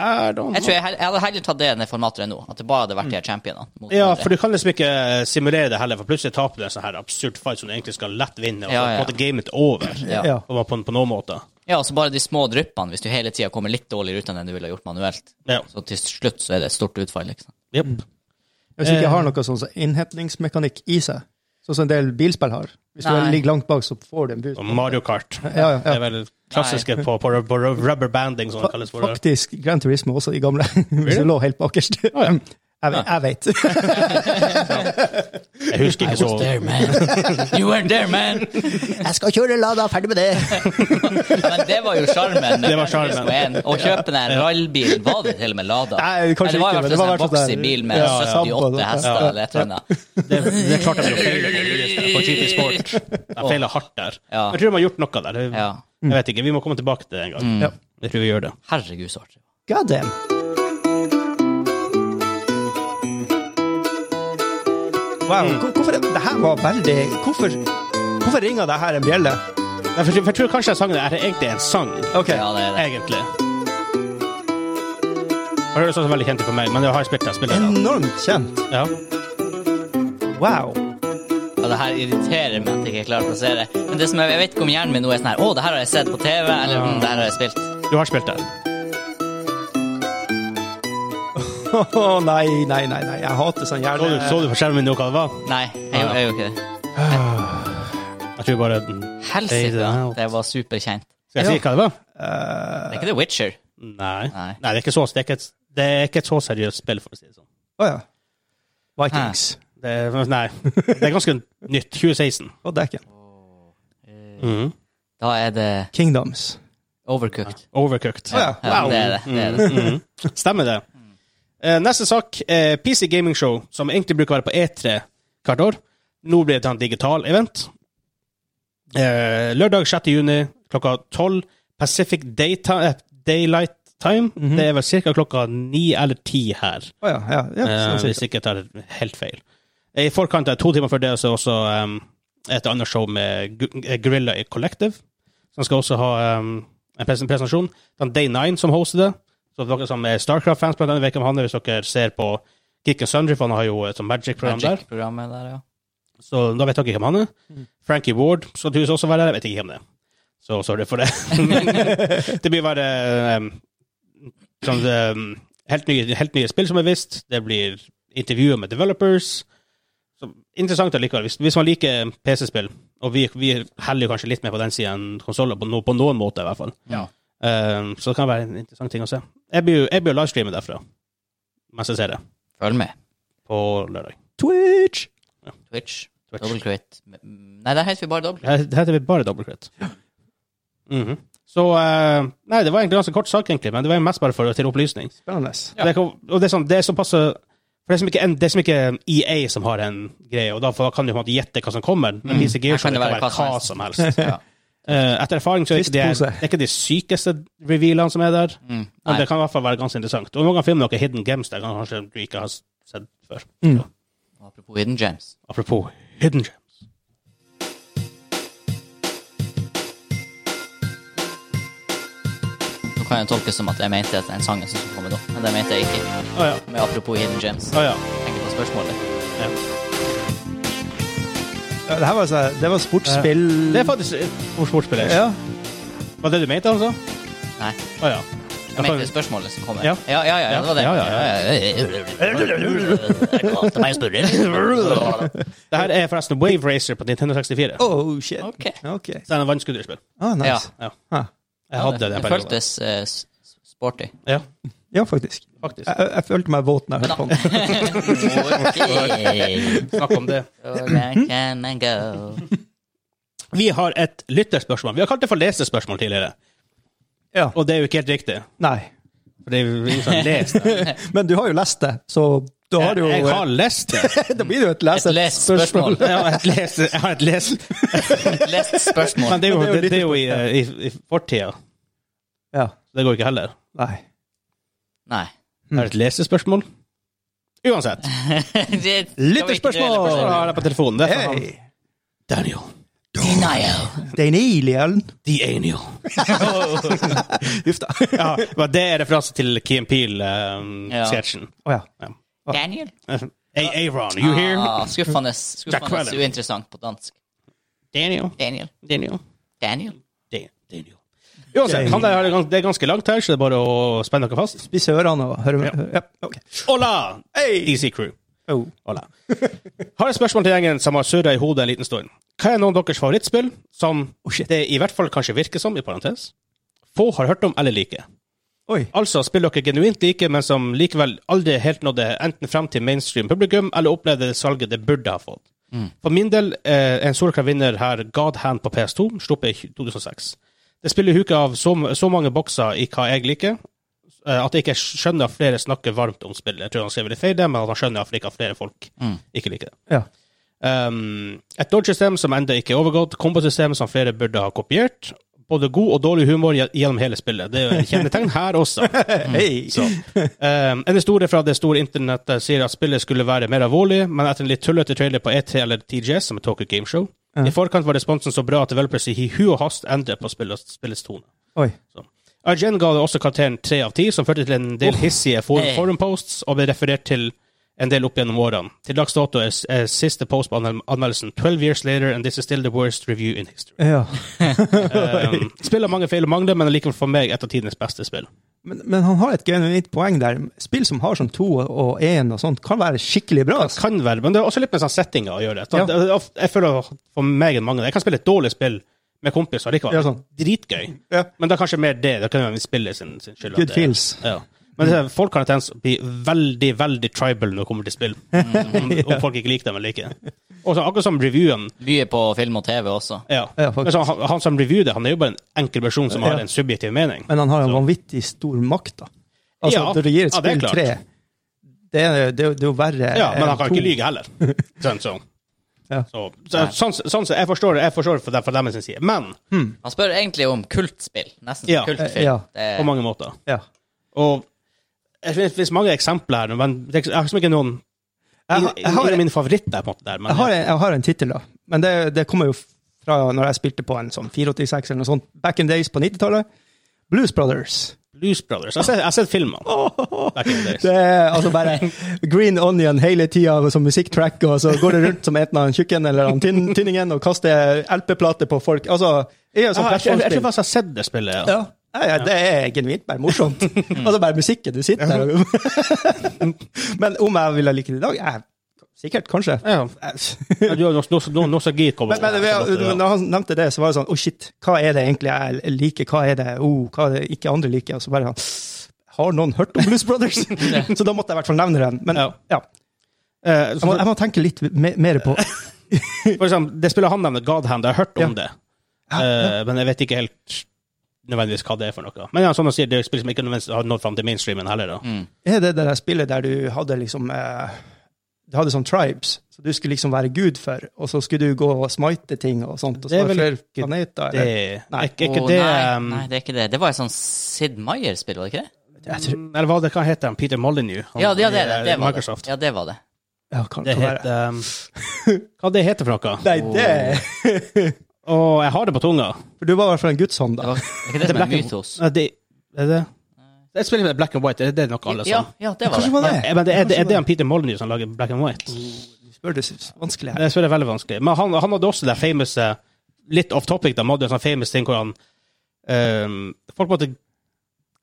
Speaker 1: Jeg
Speaker 2: don't know.
Speaker 1: tror jeg, hell- jeg hadde heller tatt det enn det formatet er nå. At det bare hadde
Speaker 3: Mm.
Speaker 1: vært de her championene. mot
Speaker 2: Ja,
Speaker 1: hverandre.
Speaker 2: for du kan liksom ikke simulere det heller, for plutselig taper du en sånn her absurd fight som du egentlig skal lett vinne, og
Speaker 1: Ja, ja.
Speaker 2: så på en måte gamet over.
Speaker 1: Ja.
Speaker 3: Ja.
Speaker 2: Og var på, på noen måte.
Speaker 1: ja, og så bare de små dryppene, hvis du hele tida kommer litt dårligere ut enn det du ville ha gjort manuelt.
Speaker 2: Ja.
Speaker 1: Så til slutt så er det et stort utfall, liksom.
Speaker 2: Jep.
Speaker 3: Mm. Hvis
Speaker 2: Eh.
Speaker 3: ikke jeg har noe sånn som innhentningsmekanikk i seg, sånn som en del bilspill har. Hvis du
Speaker 1: Nei.
Speaker 3: ligger langt bak, så får du en
Speaker 2: Og
Speaker 3: boost.
Speaker 2: Mario Kart.
Speaker 3: Ja, ja,
Speaker 2: Det er
Speaker 3: ja.
Speaker 2: vel klassiske på, på, på rubber banding, som det kalles for. det.
Speaker 3: Faktisk Gran Turismo også, de gamle. Hvis du lå helt bakerst. Jeg, jeg vet.
Speaker 2: Jeg husker ikke så
Speaker 1: there, man. You weren't there, man.
Speaker 3: Jeg skal kjøre Lada, ferdig med det!
Speaker 1: Men det var jo sjarmen. med
Speaker 2: Det var
Speaker 1: Gran
Speaker 2: charmen.
Speaker 1: Turismo 1. Å kjøpe den her rallbilen, var det til og med Lada?
Speaker 3: Nei, kanskje
Speaker 1: det var i
Speaker 3: ikke, men
Speaker 1: hvert
Speaker 3: det
Speaker 1: fall
Speaker 3: var
Speaker 1: en
Speaker 3: i hvert fall
Speaker 1: boksy
Speaker 3: der.
Speaker 1: bil med
Speaker 3: Ja, ja.
Speaker 1: 78
Speaker 3: Ja.
Speaker 1: hester eller et eller annet.
Speaker 2: Det, det klarte jeg ikke på GT Sport. Jeg feilet hardt der.
Speaker 1: Ja.
Speaker 2: Jeg tror de har gjort noe der.
Speaker 1: Ja. Mm.
Speaker 2: Jeg vet ikke. Vi må komme tilbake til det en gang.
Speaker 3: Ja.
Speaker 2: Jeg tror vi gjør det.
Speaker 1: Herregud, så artig.
Speaker 3: God damn. Wow. hvor- Hvorfor, det her var veldig Hvorfor, hvorfor ringer det her en bjelle?
Speaker 2: Nei, for, for jeg tror kanskje den sangen er egentlig en sang,
Speaker 3: Ok.
Speaker 1: Ja, det er det.
Speaker 2: egentlig. Og Det høres også sånn veldig kjent ut for meg, men jeg har spilt den. Spiller den.
Speaker 3: Enormt kjent.
Speaker 2: Ja.
Speaker 3: Wow.
Speaker 1: Ja, det her irriterer meg at jeg ikke klarer å plassere. Men det som jeg, jeg vet ikke om hjernen min nå er sånn her Å, det her har jeg sett på TV, eller mm, det her har jeg spilt.
Speaker 2: Du har spilt den.
Speaker 3: Å nei, nei, nei, nei. Jeg hater sånn
Speaker 2: Så du, så
Speaker 3: hjerne...
Speaker 2: du på skjermen min nå hva det var?
Speaker 1: Nei, jeg gjorde jeg gjorde ikke det.
Speaker 2: Jeg tror bare Skal
Speaker 1: Helsike, det var superkjent.
Speaker 2: jeg si hva det var?
Speaker 3: Eh,
Speaker 1: Det er ikke The Witcher.
Speaker 2: Nei.
Speaker 1: Nei.
Speaker 2: Nei, det er ikke så, det er ikke et, det er ikke et så seriøst spill, for å si det sånn.
Speaker 3: Å ja. Vikings.
Speaker 2: Det er, nei. Det er ganske nytt. 2016.
Speaker 3: Og dekken.
Speaker 1: Mm.
Speaker 2: Mhm.
Speaker 1: Da er det
Speaker 3: Kingdoms.
Speaker 1: overcooked.
Speaker 2: Overcooked.
Speaker 3: Å ja.
Speaker 1: Ja,
Speaker 2: Wow. Mm.
Speaker 1: det er det. det, er det.
Speaker 2: Mm-hmm. Stemmer det. Eh, neste sak er PC Gaming Show, som egentlig bruker å være på E3 hvert år. Nå blir det et sånt digital event. Eh, lørdag 6. juni klokka 12 Pacific Daytime, eh, Daylight Time. Det er vel ca. klokka 9 eller 10 her,
Speaker 3: Å ja, ja. ja
Speaker 2: eh,
Speaker 3: sånn
Speaker 2: hvis ikke
Speaker 3: sikkert.
Speaker 2: jeg tar helt feil. I forkant av to timer før det så er også em, et annet show med Gu- eh, Gorilla Collective, som skal også ha em, en presen- presentasjon. Det er Day 9 som hoster det. Så dere som er Starcraft-fans, blant annet, vet hvem han er hvis dere ser på Geek and Sundry, for han har jo et sånt Magic-program der.
Speaker 1: Magic-programmet der, ja.
Speaker 2: Så da vet dere hvem han er. Frankie Ward skal tydeligvis også være der. Jeg vet ikke hvem det er. Så sorry for det. det blir bare em, sånn, em, helt, nye, helt nye spill som er vist. Det blir intervjuer med developers. Så, interessant allikevel. Hvis, hvis man liker PC-spill, og vi, vi heller jo kanskje litt mer på den sida enn konsoller, på, no, på noen måte i hvert fall.
Speaker 1: Ja.
Speaker 2: Um, så det kan være en interessant ting å se. Jeg blir jo jeg blir jo livestreamet derfra mens jeg ser det,
Speaker 1: Følg med.
Speaker 2: på lørdag.
Speaker 3: Twitch!
Speaker 1: Twitch.
Speaker 2: Twitch.
Speaker 1: Double crit. Nei, der heter vi bare double.
Speaker 2: Det heter vi bare Double Crit. Mhm. Så eh, Nei, det var egentlig ganske kort sak, egentlig, men det var mest bare for, til opplysning.
Speaker 3: Spennende.
Speaker 1: Ja.
Speaker 2: Det, kan- og det er sånn, det er såpass For det er som ikke, en- det er som ikke EA som har en greie, og da for da kan du på en måte gjette hva som kommer. Men PC
Speaker 1: Mm.
Speaker 2: Gear
Speaker 1: Her
Speaker 2: Show
Speaker 1: kan det
Speaker 2: det kan
Speaker 1: være
Speaker 2: være
Speaker 1: hva
Speaker 2: hva
Speaker 1: som
Speaker 2: som helst.
Speaker 1: Ja.
Speaker 2: Eh, etter erfaring så er ikke det,
Speaker 3: Twistpose.
Speaker 2: det er ikke de sykeste revealene som er der,
Speaker 1: Mm.
Speaker 2: men
Speaker 1: Nei,
Speaker 2: det kan i hvert fall være ganske interessant. Og noen ganger finner dere hidden games der kanskje du ikke har sett før.
Speaker 3: Mm.
Speaker 2: Så,
Speaker 1: apropos Hidden Gems.
Speaker 2: apropos hidden gems.
Speaker 1: Nå kan jeg tolkes som at jeg mente at den sangen som skulle komme nå, men det mente jeg ikke.
Speaker 2: Å ja.
Speaker 1: Med apropos Hidden Gems.
Speaker 2: Å ja.
Speaker 1: Tenker på spørsmålet.
Speaker 2: ja.
Speaker 3: Ja, det her var, så, det var sportsspill...
Speaker 2: Det er faktisk for sportsspiller.
Speaker 3: Ja.
Speaker 2: Var det du mente, altså?
Speaker 1: Nei.
Speaker 2: Å ja.
Speaker 1: Jeg mente det spørsmålet som kommer.
Speaker 2: Ja.
Speaker 1: ja, ja, ja, det var det.
Speaker 2: Ja, ja, ja.
Speaker 1: Jeg kalte meg en spurver.
Speaker 2: Det her er forresten Wave Racer på Nintendo 64.
Speaker 3: Oh, shit.
Speaker 1: Ok.
Speaker 3: Ok.
Speaker 2: Så er det en vannskuterspill.
Speaker 3: Ah, nice.
Speaker 1: Ja.
Speaker 2: Ja.
Speaker 3: Ah.
Speaker 2: Jeg hadde det en
Speaker 1: Det
Speaker 2: periode.
Speaker 1: føltes eh, s- sporty.
Speaker 2: Ja,
Speaker 3: Ja, faktisk.
Speaker 2: faktisk.
Speaker 3: Jeg, jeg, jeg følte meg våt når jeg hørte på den.
Speaker 1: Okay.
Speaker 2: Snakk om det.
Speaker 1: So where can I go?
Speaker 2: Vi har et lytterspørsmål. Vi har kalt det for lesespørsmål tidligere,
Speaker 3: Ja.
Speaker 2: og det er jo ikke helt riktig.
Speaker 3: Nei.
Speaker 2: For det er jo ingen som har lest det.
Speaker 3: Men du har jo lest det, så da har du jo
Speaker 2: Jeg har lest det.
Speaker 3: Da blir det jo et
Speaker 1: Et
Speaker 3: lese...
Speaker 1: lest spørsmål.
Speaker 2: Jeg har et lest, jeg har et lest.
Speaker 1: Et lest spørsmål.
Speaker 2: Men det er jo,
Speaker 3: Men det er jo
Speaker 2: det,
Speaker 3: litt
Speaker 2: det er jo i, i, i fortida.
Speaker 3: Ja.
Speaker 2: Det går ikke heller.
Speaker 3: Nei.
Speaker 1: Nei.
Speaker 2: Jeg har et lesespørsmål. Uansett.
Speaker 1: Det-
Speaker 3: Lytterspørsmål!
Speaker 2: Jeg har det på telefonen. Det er fra
Speaker 3: Hey,
Speaker 2: Daniel.
Speaker 1: Denial.
Speaker 3: Danielian.
Speaker 2: The Aniel.
Speaker 3: Uff da. Å
Speaker 2: Ja, men det er referanse til Key eh,
Speaker 1: Ja.
Speaker 2: Peel-sketsjen.
Speaker 3: ja.
Speaker 2: Ah.
Speaker 1: Daniel?
Speaker 2: Hey, Eh, Aaron, you here?
Speaker 1: Ah, skuffende
Speaker 2: Jack Wellen.
Speaker 1: skuffende uinteressant på dansk.
Speaker 2: Daniel.
Speaker 1: Daniel.
Speaker 2: Daniel.
Speaker 1: Daniel.
Speaker 2: Da- Daniel. Uansett, han der, har det gans- det er ganske langt her, så det er bare å spenne dere fast.
Speaker 3: Spisse ørene og høre med. Ja. ok.
Speaker 2: Hola! DC Crew.
Speaker 3: Oh.
Speaker 2: Hola. Har et spørsmål til gjengen som har surra i hodet en liten stund. Hva er noen av deres favorittspill som det i hvert fall kanskje virker som, i parentes, få har hørt om eller liker?
Speaker 3: Oi.
Speaker 2: Altså spill dere genuint liker, men som likevel aldri helt nådde enten frem til mainstream publikum, eller opplevde det salget det burde ha fått. For min del eh, en solklar vinner her God Hand på PS2, sluppet i 2006. Det spiller huket av så, så mange bokser i hva jeg liker, eh, at jeg ikke skjønner at flere snakker varmt om spillet. Jeg tror han skriver litt feil, der, men han skjønner at ikke at flere folk ikke liker det.
Speaker 3: Ja.
Speaker 2: Um, et dodge-system som ennå ikke er overgått, kombosystem som flere burde ha kopiert, både god og dårlig humor gje- gjennom hele spillet. Det er jo et kjennetegn her også.
Speaker 3: Hei.
Speaker 2: Så. Um, en historie fra det store internettet sier at spillet skulle være mer alvorlig, men etter en litt tullete trailer på E3 eller TGS, som er Tokyo Game Show, i forkant var responsen så bra at developers i hu og hast endret på spillets, spillets tone.
Speaker 3: Oi.
Speaker 2: Så. IGN ga det også karakteren tre av ti, som førte til en del hissige for
Speaker 1: Hey.
Speaker 2: forumposts og ble referert til en del opp gjennom årene. Til dags dato er, s- er siste post på anmel- anmeldelsen 12 years later and this is still the worst review in history.
Speaker 3: Ja.
Speaker 2: Um, spill har mange feil og mangler, men er likevel for meg et av tidenes beste spill.
Speaker 3: Men, men han har et genuint poeng der. Spill som har sånn to og én og sånt, kan være skikkelig bra. altså.
Speaker 2: Kan være, men det er også litt med sånn settinga å gjøre. Så
Speaker 3: Ja.
Speaker 2: det er of- Jeg føler for meg en mangel. Jeg kan spille et dårlig spill med kompiser likevel.
Speaker 3: Ja, sånn.
Speaker 2: Dritgøy.
Speaker 3: Ja.
Speaker 2: Men det er kanskje mer det. Det kan jo spille sin, sin skyld. at
Speaker 3: Good
Speaker 2: det-
Speaker 3: feels.
Speaker 2: Ja. Men det, er- folk har en tendens å bli veldig veldig tribal når det kommer til spill. Om, om folk ikke liker dem eller ikke. Og så akkurat som reviewen
Speaker 1: Mye på film og TV også.
Speaker 2: ja.
Speaker 3: Ja,
Speaker 2: Men
Speaker 3: faktisk.
Speaker 2: så, han, han som reviewer det, han er jo bare en enkel person som har
Speaker 3: Ja.
Speaker 2: en subjektiv mening.
Speaker 3: Men han har en vanvittig stor makt, da. Altså,
Speaker 2: Ja,
Speaker 3: når du gir et
Speaker 2: ja, det er
Speaker 3: spill
Speaker 2: klart.
Speaker 3: tre, det er, det, er- det er jo verre
Speaker 2: Ja, men
Speaker 3: enn
Speaker 2: han kan ikke
Speaker 3: to.
Speaker 2: lyge heller. Sånn, så.
Speaker 3: Ja.
Speaker 2: Så, så, sånn, sånn, så jeg forstår det jeg forstår det fra dem- fra dem sin side. Men
Speaker 1: Han spør egentlig om kultspill. Nesten
Speaker 2: Ja.
Speaker 1: som kultfilm.
Speaker 3: Ja.
Speaker 2: på
Speaker 1: Det,
Speaker 2: mange måter.
Speaker 3: Ja.
Speaker 2: Og jeg finner- det finnes mange eksempler her, men det er ikke- jeg har liksom ikke noen
Speaker 3: Jeg har- jeg har-
Speaker 2: Ingen av mine favoritter, på en måte. der. Men,
Speaker 3: Jeg har en, jeg har en tittel, da. Men det, det kommer jo fra når jeg spilte på en sånn 486 eller noe sånt, back in days på 90-tallet. Blues Brothers.
Speaker 2: Blues Brothers. Jeg har sett- jeg har sett filmene. Back in the days.
Speaker 3: Det er altså bare green onion hele tida som musikktrack, og så går det rundt som enten han tjukken eller han tynn- tynningen og kaster LP-plater på folk. Altså, det er jo
Speaker 2: Jeg,
Speaker 3: sånn
Speaker 2: har- Ah, jeg, tror- jeg tror
Speaker 3: plattformspill.
Speaker 2: faktisk jeg har sett det spillet. Ja.
Speaker 3: Ja. Ja, ja, det er genuint bare morsomt. altså bare musikken du sitter der og Men om jeg ville like det i dag? Jeg, sikkert, kanskje.
Speaker 2: Ja. Ja, Du har nos- nos- nos- nostalgi kommer
Speaker 3: Men, men
Speaker 2: over.
Speaker 3: vi- når han nevnte det, så var det sånn Å, shit. Hva er det egentlig jeg liker? Hva er det oh, hva er det ikke andre liker? Og så bare sånn Har noen hørt om Blues Brothers? så da måtte jeg i hvert fall nevne den. Men ja.
Speaker 2: Ja. Eh, så
Speaker 3: Jeg, må, jeg må tenke litt me- mer på
Speaker 2: for- for eksempel, det spillet han nevner, Godhand, jeg har hørt om
Speaker 3: Ja.
Speaker 2: det, Eh, men jeg vet ikke helt nødvendigvis hva det er for noe. Men ja, som han sier, det er et spill som ikke nødvendigvis har nådd fram til mainstreamen heller. da.
Speaker 3: Mm. Er det det der spillet der du hadde liksom eh, Du hadde sånn tribes, så du skulle liksom være gud for, og så skulle du gå og smite ting og sånt, og
Speaker 2: Det er
Speaker 3: svare
Speaker 2: vel
Speaker 3: for planeter, eller?
Speaker 2: Det,
Speaker 3: Nei.
Speaker 2: er ikke- ikke
Speaker 1: Å,
Speaker 2: det
Speaker 1: nei,
Speaker 2: um,
Speaker 1: nei, det er ikke det. Det var et sånt Sid Meyer-spill, var det ikke det?
Speaker 3: Jeg tror,
Speaker 2: Eller hva det hva heter han? Peter Molyneux? Han,
Speaker 1: Ja, det, ja, det, det,
Speaker 2: eh,
Speaker 1: det var
Speaker 2: Microsoft.
Speaker 1: det. Ja, det var det.
Speaker 3: ja, kan,
Speaker 2: Det
Speaker 3: kan være.
Speaker 2: heter um, Hva det heter for noe?
Speaker 3: Nei, det
Speaker 2: Og jeg har det på tunga.
Speaker 3: For du var i hvert fall en gudshånd,
Speaker 1: Det
Speaker 3: da.
Speaker 1: var er ikke det som er Mythos.
Speaker 2: Nei, Det, er det det er et spill med black and white, er det det noe alle
Speaker 1: Ja,
Speaker 2: sammen?
Speaker 1: ja, det var
Speaker 3: Kanskje det
Speaker 1: det.
Speaker 3: var det?
Speaker 2: Ja, Eh, men det er, det er det han Peter Molyneux som lager black and white?
Speaker 3: Spør du, synes- vanskelig her.
Speaker 2: Det er selvfølgelig veldig vanskelig. Men han, han hadde også det famous eh, Litt off topic, da. Han hadde en sånn famous ting hvor han ehm, Folk måtte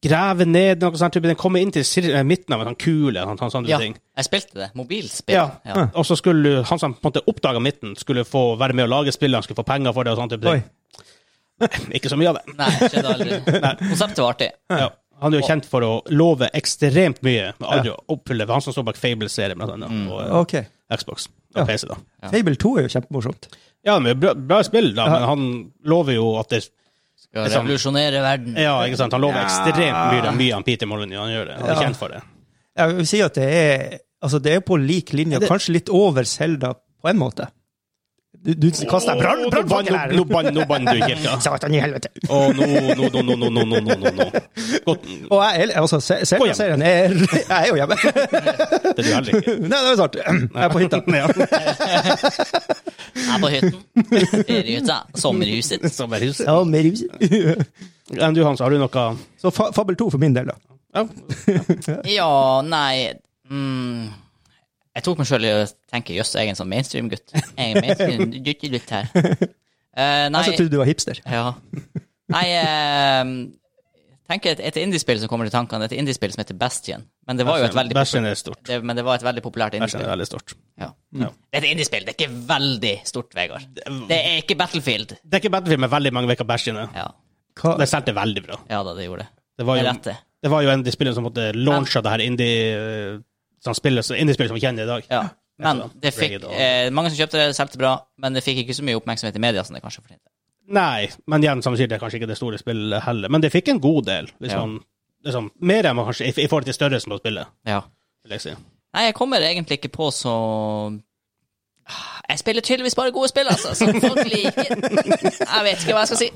Speaker 2: grave ned noe sånt. type, Den kommer inn til sir- eh, midten av en sånn kule. Han, han, sånne
Speaker 1: Ja,
Speaker 2: ting.
Speaker 1: jeg spilte det. Mobilspill.
Speaker 2: Ja. Og så skulle han som på en måte oppdaga midten, skulle få være med å lage spillet, han skulle få penger for det og sånn type
Speaker 3: Oi.
Speaker 2: ting. Ikke så mye av det.
Speaker 1: Nei, skjedde aldri. Konseptet var artig.
Speaker 2: Ja. Han er jo kjent for å love ekstremt mye, men aldri å oppfylle. Det var Han som står bak Fable-serien, blant annet, og eh,
Speaker 3: OK.
Speaker 2: Xbox og
Speaker 3: Ja.
Speaker 2: PC, da.
Speaker 1: Ja.
Speaker 3: Fable 2 er jo kjempemorsomt.
Speaker 2: Ja, men bra, bra spill, da, men han lover jo at det
Speaker 1: Skal
Speaker 2: Liksom.
Speaker 1: revolusjonere verden.
Speaker 2: Ja, ikke sant? Han lover
Speaker 3: Ja.
Speaker 2: ekstremt mye, mye om Peter Molyneux. Han gjør det. Han er
Speaker 3: Ja.
Speaker 2: kjent for det.
Speaker 3: Jeg vil si at det er altså det er på lik linje,
Speaker 2: Det-
Speaker 3: kanskje litt over Selda på en måte. Du, du kaster
Speaker 2: Åh,
Speaker 3: deg brann,
Speaker 2: nå
Speaker 3: brannfakkel
Speaker 2: bann-
Speaker 3: her!
Speaker 2: Nå bann- nå bann du i kirka.
Speaker 3: Satan i helvete.
Speaker 2: Å, nå, nå, nå, nå, nå, nå, nå, nå, nå, nå. Godt,
Speaker 3: Og jeg, altså, Se-
Speaker 2: Gå hjem.
Speaker 3: Selda-serien er Jeg er jo hjemme.
Speaker 2: det er du heller ikke.
Speaker 3: Nei, det er snart. Jeg er på hytta.
Speaker 1: Jeg er på hytten. Feriehytta. Sommerhuset.
Speaker 2: Sommerhus.
Speaker 3: Ja, med rus.
Speaker 2: Enn du, Hans, har du noe
Speaker 3: Så fa Fabel 2 for min del, da.
Speaker 2: ja.
Speaker 1: Ja, nei mm. Jeg tok meg sjøl i å tenke jøss, jeg er en sånn mainstream-gutt. Jeg er en mainstream-gutt her. Eh, nei,
Speaker 3: Jeg som trodde du var hipster.
Speaker 1: ja. nei eh, tenk et, et indiespill som kommer til tankene. Et indiespill som heter Bastion. Men det var jo et veldig,
Speaker 2: Bæsjen er stort.
Speaker 1: det, men det var et veldig populært
Speaker 2: Bæsjen er
Speaker 1: indiespill.
Speaker 2: veldig stort.
Speaker 1: Ja.
Speaker 2: Ja.
Speaker 1: Det er et indiespill, det er ikke veldig stort, Vegard. Det er ikke Battlefield.
Speaker 2: Det er ikke Battlefield med veldig mange vekker bæsj inne.
Speaker 1: Ja,
Speaker 3: Hva?
Speaker 2: Det solgte veldig bra.
Speaker 1: ja da, det gjorde det.
Speaker 2: Det var
Speaker 1: Det er
Speaker 2: jo,
Speaker 1: rett, det.
Speaker 2: det var jo en av de spillene som måtte launche det her indie-spillet sånn spillet- så indie-spillet som vi kjenner i dag.
Speaker 1: Ja. Men det
Speaker 2: Bring
Speaker 1: fikk,
Speaker 2: it on.
Speaker 1: eh, mange som kjøpte det, solgte bra, men det fikk ikke så mye oppmerksomhet i media som det kanskje fortjente.
Speaker 2: Nei, men igjen, som du sier, det er kanskje ikke det store spillet heller. Men det fikk en god del. Hvis
Speaker 1: Ja.
Speaker 2: man, liksom, mer enn man kanskje i i forhold til størrelsen på spillet.
Speaker 1: Ja.
Speaker 2: vil jeg si.
Speaker 1: Nei, jeg kommer egentlig ikke på så Ah, Jeg spiller tydeligvis bare gode spill, altså, som folk liker. Jeg vet ikke hva jeg skal si.